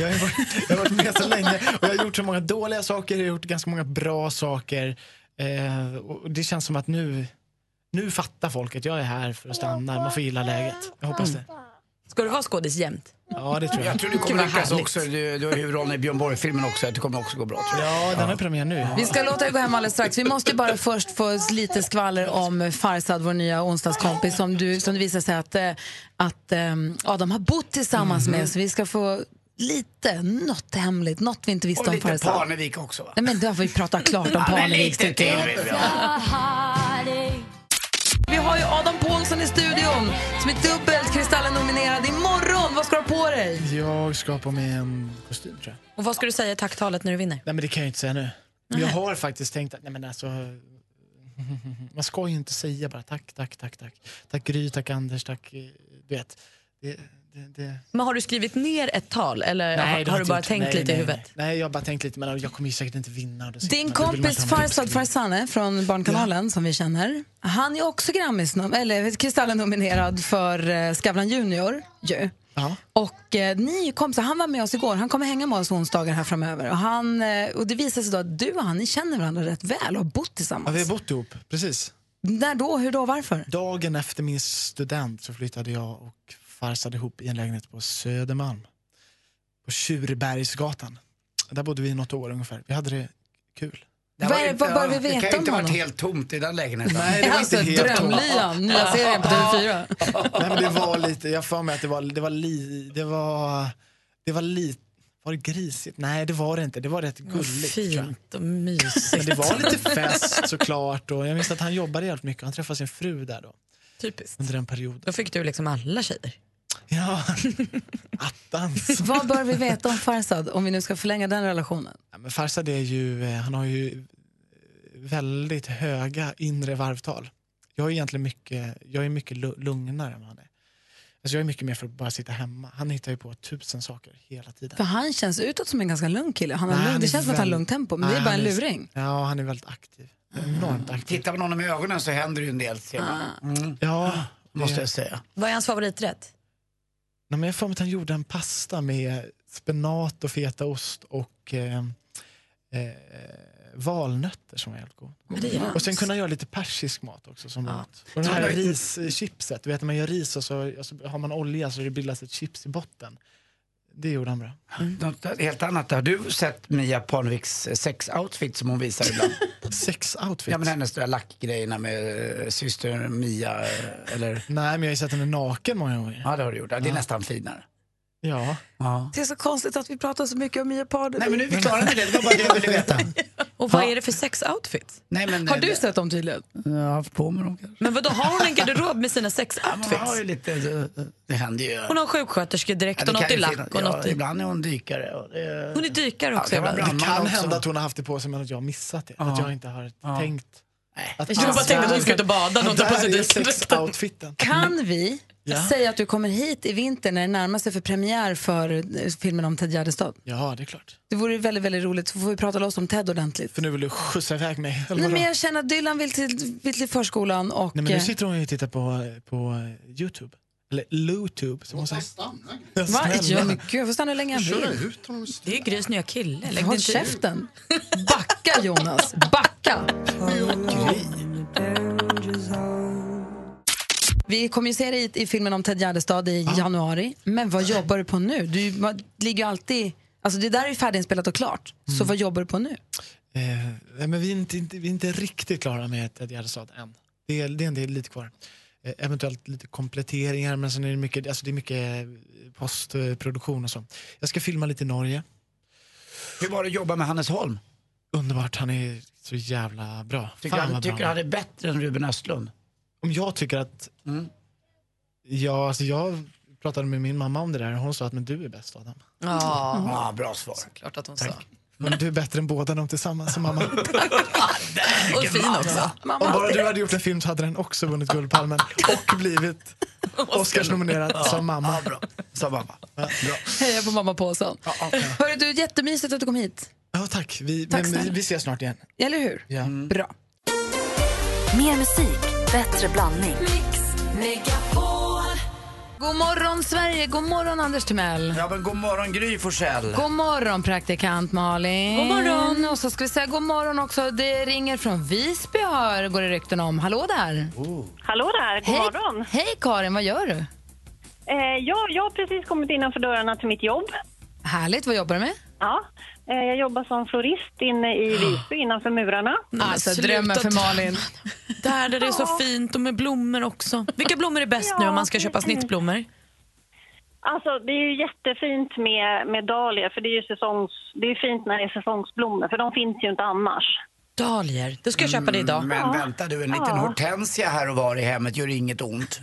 Speaker 15: jag, har varit, jag har varit med så länge och jag har gjort så många dåliga saker, jag har gjort ganska många bra saker. Eh, och det känns som att nu, nu fattar folk att jag är här för att stanna. Man får gilla läget. Jag hoppas det.
Speaker 4: Ska du vara skådis jämt?
Speaker 15: Ja, det tror jag.
Speaker 3: Jag tror du kommer lyckas också. Du, du har huvudrollen i Björn Borg-filmen också. Det kommer också gå bra tror jag.
Speaker 15: Ja, den har premiär nu.
Speaker 1: Vi ska låta er gå hem alldeles strax. Vi måste bara först få lite skvaller om Farsad, vår nya onsdagskompis som, du, som det visar sig att, eh, att ehm, Adam har bott tillsammans med. Så vi ska få lite, något hemligt, något vi inte visste
Speaker 3: Och
Speaker 1: om
Speaker 3: lite
Speaker 1: Farsad.
Speaker 3: Parnevik också va?
Speaker 1: Nej men då får vi prata klart om liksom.
Speaker 3: Ja, men
Speaker 1: Parneviks
Speaker 3: lite till vill vi ha.
Speaker 1: Vi har ju Adam Pålsson i studion som är dubbelt Kristallen-nominerad imorgon. Vad ska du ha på dig?
Speaker 15: Jag ska ha på mig en kostym tror jag.
Speaker 4: Och vad ska du säga i tacktalet när du vinner?
Speaker 15: Nej men det kan jag inte säga nu.
Speaker 4: Nej.
Speaker 15: Jag har faktiskt tänkt att, nej men alltså. Man ska ju inte säga bara tack, tack, tack, tack. Tack Gry, tack Anders, tack, eh, du vet. Det, det, det.
Speaker 4: Men har du skrivit ner ett tal eller har,
Speaker 15: det
Speaker 4: har du
Speaker 15: jag
Speaker 4: bara
Speaker 15: inte gjort.
Speaker 4: tänkt
Speaker 15: Nej,
Speaker 4: lite
Speaker 15: nej,
Speaker 4: i huvudet?
Speaker 15: Nej. nej, jag har bara tänkt lite, men jag kommer ju säkert inte vinna. och då sitter
Speaker 1: Din
Speaker 15: man- då vill man
Speaker 1: kompis
Speaker 15: inte ha någon
Speaker 1: Farsad
Speaker 15: uppskrivning.
Speaker 1: Farsane från Barnkanalen som vi känner, han är också Grammis, eller Kristallen-nominerad för eh, Skavlan Junior ju.
Speaker 15: Ja.
Speaker 1: Och eh, ni kom, så han var med oss igår, han kommer hänga med oss onsdagar här framöver. Och, han, eh, och det visar sig då att du och han, ni känner varandra rätt väl och har bott
Speaker 15: Ja,
Speaker 1: tillsammans.
Speaker 15: vi har bott ihop, precis.
Speaker 1: När då, hur då, varför?
Speaker 15: Dagen efter min student så flyttade jag och farsade ihop i en lägenhet på Södermalm. På Tjurbergsgatan. Där bodde vi i något år ungefär. Vi hade det kul.
Speaker 3: Det
Speaker 1: Vad
Speaker 3: var
Speaker 1: är-
Speaker 3: inte-
Speaker 1: vad bör vi
Speaker 3: Det
Speaker 1: veta
Speaker 3: kan ju
Speaker 1: om
Speaker 3: inte ha varit
Speaker 1: honom?
Speaker 3: helt tomt i den lägenheten.
Speaker 15: Nej, det var inte helt
Speaker 1: Drömlyan, nya serien på TV4.
Speaker 15: Nej, men det var lite, jag har för mig att det var, det var li, det var, det var lite, var det grisigt? Nej det var det inte, det var rätt gulligt. tror jag.
Speaker 4: Fint och mysigt.
Speaker 15: Men det var lite fest såklart och jag minns att han jobbade jävligt mycket, han träffade sin fru där då.
Speaker 4: Typiskt.
Speaker 15: Under den perioden.
Speaker 4: Då fick du liksom alla tjejer.
Speaker 15: Ja, attans.
Speaker 1: Vad bör vi veta om Farsad om vi nu ska förlänga den relationen?
Speaker 15: Ja, Men Farsad är ju, eh, han har ju väldigt höga inre varvtal. Jag är egentligen mycket, jag är mycket lu- lugnare än vad han är. Alltså jag är mycket mer för att bara sitta hemma. Han hittar ju på tusen saker hela tiden.
Speaker 1: För han känns utåt som en ganska lugn kille. Han har
Speaker 15: Nej,
Speaker 1: lugn,
Speaker 15: han
Speaker 1: det
Speaker 15: är
Speaker 1: känns som att han har
Speaker 15: väl-
Speaker 1: lugnt tempo, men det är
Speaker 15: Nej,
Speaker 1: bara en
Speaker 15: han
Speaker 1: luring.
Speaker 15: Ja, han är väldigt aktiv. Enormt aktiv.
Speaker 3: Tittar man honom i ögonen så händer ju en del. ser man.
Speaker 1: Ah.
Speaker 3: Mm.
Speaker 15: Ja,
Speaker 3: Måste jag säga.
Speaker 4: Vad är hans favoriträtt?
Speaker 15: Nej, men jag får mig att han gjorde en pasta med spenat och fetaost och eh, eh, valnötter som var jävligt god.
Speaker 4: Men det är ju
Speaker 15: Och sen
Speaker 4: nice.
Speaker 3: Alltså.
Speaker 15: kunde han göra lite persisk mat också som
Speaker 4: Ja.
Speaker 15: mat. Och det här rischipset, du vet när man gör ris och så, och så har man olja så det bildas ett chips i botten. Det gjorde han bra.
Speaker 3: Mm. Något helt annat. Har du sett Mia Parneviks sex-outfit som hon visar ibland?
Speaker 15: Sex-outfit?
Speaker 3: Ja, men hennes där lackgrejerna med eh, syster Mia, eh, eller?
Speaker 15: Nej, men jag har ju sett henne naken många gånger.
Speaker 3: Ja, det har du gjort. Ja, det är
Speaker 15: Ja.
Speaker 3: nästan finare.
Speaker 15: Ja.
Speaker 3: Ja.
Speaker 1: Det är så konstigt att vi pratar så mycket om Mia Parnevik.
Speaker 3: Nej, men nu är vi klara med det. Det var bara det jag ville veta.
Speaker 4: Och vad är det för sexoutfits?
Speaker 3: Nej, men, eh,
Speaker 1: Har du sett dem tydligen?
Speaker 3: Jag har haft på mig dem kanske.
Speaker 4: Men vadå, har hon en garderob med sina
Speaker 3: Man har ju
Speaker 4: sexoutfits?
Speaker 3: lite, det, det händer ju.
Speaker 4: Hon har sjuksköterskedräkt
Speaker 3: Ja,
Speaker 4: och
Speaker 3: det
Speaker 4: något
Speaker 3: kan
Speaker 4: i
Speaker 3: ju
Speaker 4: lack
Speaker 3: finnas-
Speaker 4: och
Speaker 3: ja,
Speaker 4: något i...
Speaker 3: Ibland är hon dykare. Och det,
Speaker 4: Hon är dykare
Speaker 3: Ja,
Speaker 4: också
Speaker 3: det var
Speaker 4: ibland.
Speaker 3: bra.
Speaker 15: Det
Speaker 3: Man
Speaker 15: kan
Speaker 3: också-
Speaker 15: hända att hon har haft det på sig men att jag har missat det. Att jag inte har tänkt. Att
Speaker 4: Jag bara tänkte att hon skulle ut och bada, något
Speaker 15: Där
Speaker 4: på sig
Speaker 15: är
Speaker 4: dit.
Speaker 15: sex-outfiten.
Speaker 1: Kan vi
Speaker 15: Mm. Ja.
Speaker 1: säga att du kommer hit i vinter när det närmar sig för premiär för eh, filmen om Ted Gärdestad?
Speaker 15: Ja, det är klart.
Speaker 1: Det vore väldigt, väldigt roligt, så får vi prata loss om Ted ordentligt.
Speaker 15: För nu vill du skjutsa iväg mig. eller
Speaker 1: Nej,
Speaker 15: vadå?
Speaker 1: men jag känner att Dylan vill till, vill till förskolan och...
Speaker 15: Nej, men nu
Speaker 1: eh,
Speaker 15: sitter hon ju och tittar på, på eh, Youtube.
Speaker 22: Eller Lutube som hon säger.
Speaker 1: Va?
Speaker 22: Snälla.
Speaker 1: Ja, men gud, jag får stanna hur länge jag
Speaker 22: Kör
Speaker 1: vill.
Speaker 23: ut honom.
Speaker 4: Det är ju Grys nya kille. Lägg
Speaker 1: Håll
Speaker 4: dig inte ut.
Speaker 1: käften. Backa, Jonas. Backa. Vi kommer ju se dig i, i filmen om Ted Gärdestad i januari. Men vad jobbar du på nu? Du man, ligger ju alltid... Alltså det där är ju färdiginspelat och klart.
Speaker 4: Mm.
Speaker 1: Så vad jobbar du på nu?
Speaker 22: Eh, nej, men vi, är inte, inte, vi är inte riktigt klara med Ted Gärdestad än. Det är, det är en del lite kvar. Eh, eventuellt lite kompletteringar, men sen är det mycket, alltså det är mycket postproduktion och så. Jag ska filma lite i Norge.
Speaker 3: Hur var det att jobba med Hannes Holm?
Speaker 22: Underbart, han är så jävla bra.
Speaker 3: Tycker
Speaker 22: Fan
Speaker 3: han,
Speaker 22: vad
Speaker 3: tycker
Speaker 22: bra
Speaker 3: han är bättre än Ruben Östlund?
Speaker 22: Om jag tycker att...
Speaker 3: Mm.
Speaker 22: Ja, alltså jag pratade med min mamma om det där och hon sa att men du är bäst Adam.
Speaker 3: Ja. Ja, bra svar.
Speaker 4: Såklart att hon sa.
Speaker 22: Men du är bättre än båda dem tillsammans, sa mamma.
Speaker 4: Och fin också.
Speaker 22: Om bara du hade gjort en film så hade den också vunnit Guldpalmen och blivit Oscarsnominerad som mamma.
Speaker 3: Sa mamma.
Speaker 1: Heja på mamma Pålsson. Hörru du, jättemysigt att du kom hit.
Speaker 22: Ja, tack. Vi,
Speaker 1: Tack
Speaker 22: men, vi,
Speaker 1: snälla.
Speaker 22: vi ses snart igen.
Speaker 1: Eller hur?
Speaker 22: Ja.
Speaker 1: Bra.
Speaker 24: Mer musik, bättre blandning.
Speaker 1: God morgon, Sverige. God morgon, Anders Timell.
Speaker 3: Ja, men god morgon Gry Forssell.
Speaker 1: God morgon, praktikant Malin.
Speaker 4: God morgon.
Speaker 1: Mm. Och så ska vi säga god morgon också. Det ringer från Visby, hör, går det rykten om. Hallå där.
Speaker 15: Hallå där, god
Speaker 1: Hej.
Speaker 15: morgon.
Speaker 1: Hej, Karin. Vad gör du?
Speaker 15: Eh, ja, jag har precis kommit innanför dörrarna till mitt jobb.
Speaker 1: Härligt. Vad jobbar du med?
Speaker 15: Ja, eh, jag jobbar som florist inne
Speaker 3: Ah.
Speaker 15: i Visby innanför murarna.
Speaker 1: Alltså, drömmen för Malin.
Speaker 4: Där, där det är så fint och med blommor också. Vilka blommor är bäst nu om man ska köpa snittblommor?
Speaker 15: Alltså, det är ju jättefint med, med dahlia, för det är ju säsongs, det är ju fint när det är säsongsblommor, för de finns ju inte annars.
Speaker 4: Dahlior. Det ska jag köpa det idag.
Speaker 3: Men vänta du, en liten
Speaker 15: Ja.
Speaker 3: hortensia här och var i hemmet gör inget ont.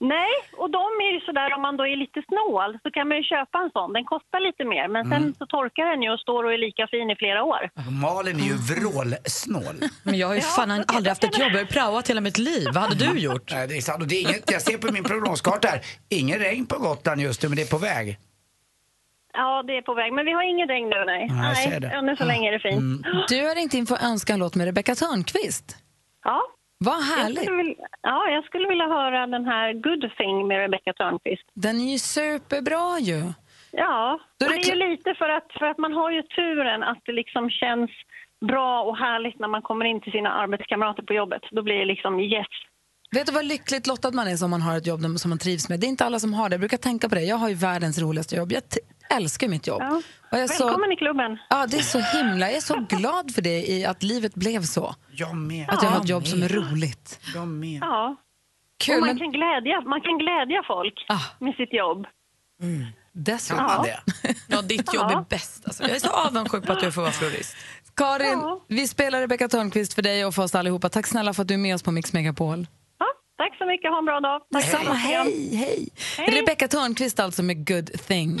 Speaker 15: Nej, och de är ju sådär, om man då är lite snål så kan man ju köpa en sån. Den kostar lite mer, men
Speaker 3: Mm.
Speaker 15: sen så torkar den ju och står och är lika fin i flera år.
Speaker 3: Malin är ju vrålsnål.
Speaker 4: Men jag har ju fan aldrig haft ett jobb. Jag har ju praoat hela mitt liv. Vad hade du gjort?
Speaker 3: Nej, det är sant. Och det är inget, jag ser på min prognoskarta här, ingen regn på Gotland just nu, men det är på väg.
Speaker 15: Ja, det är på väg, men vi har ingen regn nu, nej.
Speaker 3: Nej, jag ser det. Mm.
Speaker 15: ännu så länge är det fint.
Speaker 1: Du har ringt in för att önska en låt med Rebecca Törnqvist.
Speaker 15: Ja.
Speaker 1: Vad
Speaker 15: Jag
Speaker 1: härligt.
Speaker 15: skulle vilja, ja, jag skulle vilja höra den här Good thing med Rebecca Törnqvist.
Speaker 1: Den är ju superbra ju.
Speaker 15: Ja,
Speaker 1: Då är
Speaker 15: och
Speaker 1: det
Speaker 15: det är ju lite för att, för att man har ju turen att det liksom känns bra och härligt när man kommer in till sina arbetskamrater på jobbet. Då blir det liksom yes.
Speaker 1: Vet du vad lyckligt lottad man är som man har ett jobb som man trivs med? Det är inte alla som har det. Jag brukar tänka på det. Jag har ju världens roligaste jobb. Jag t- älskar mitt jobb.
Speaker 15: Ja.
Speaker 1: Och jag är så-
Speaker 15: Välkommen i klubben.
Speaker 1: Ja, det är så himla... Jag är så glad för det, i att livet blev så.
Speaker 3: Jag med.
Speaker 1: Att jag har ett jobb som är roligt.
Speaker 3: Jag med.
Speaker 15: Ja.
Speaker 1: Kul,
Speaker 15: och man,
Speaker 1: men- Ah.
Speaker 15: kan glädja, man kan glädja folk med sitt jobb.
Speaker 1: Dessutom.
Speaker 15: Kan man
Speaker 4: det? Ja, ditt jobb är bäst. Alltså, jag är så avundsjuk på att du får vara florist.
Speaker 1: Karin, vi spelar Rebecca Törnqvist för dig och för oss allihopa. Tack snälla för att du är med oss på Mix Megapol.
Speaker 15: Ja, tack så mycket, ha en bra dag.
Speaker 1: Tack samma, hej, hej. Rebecca Törnqvist alltså med Good thing.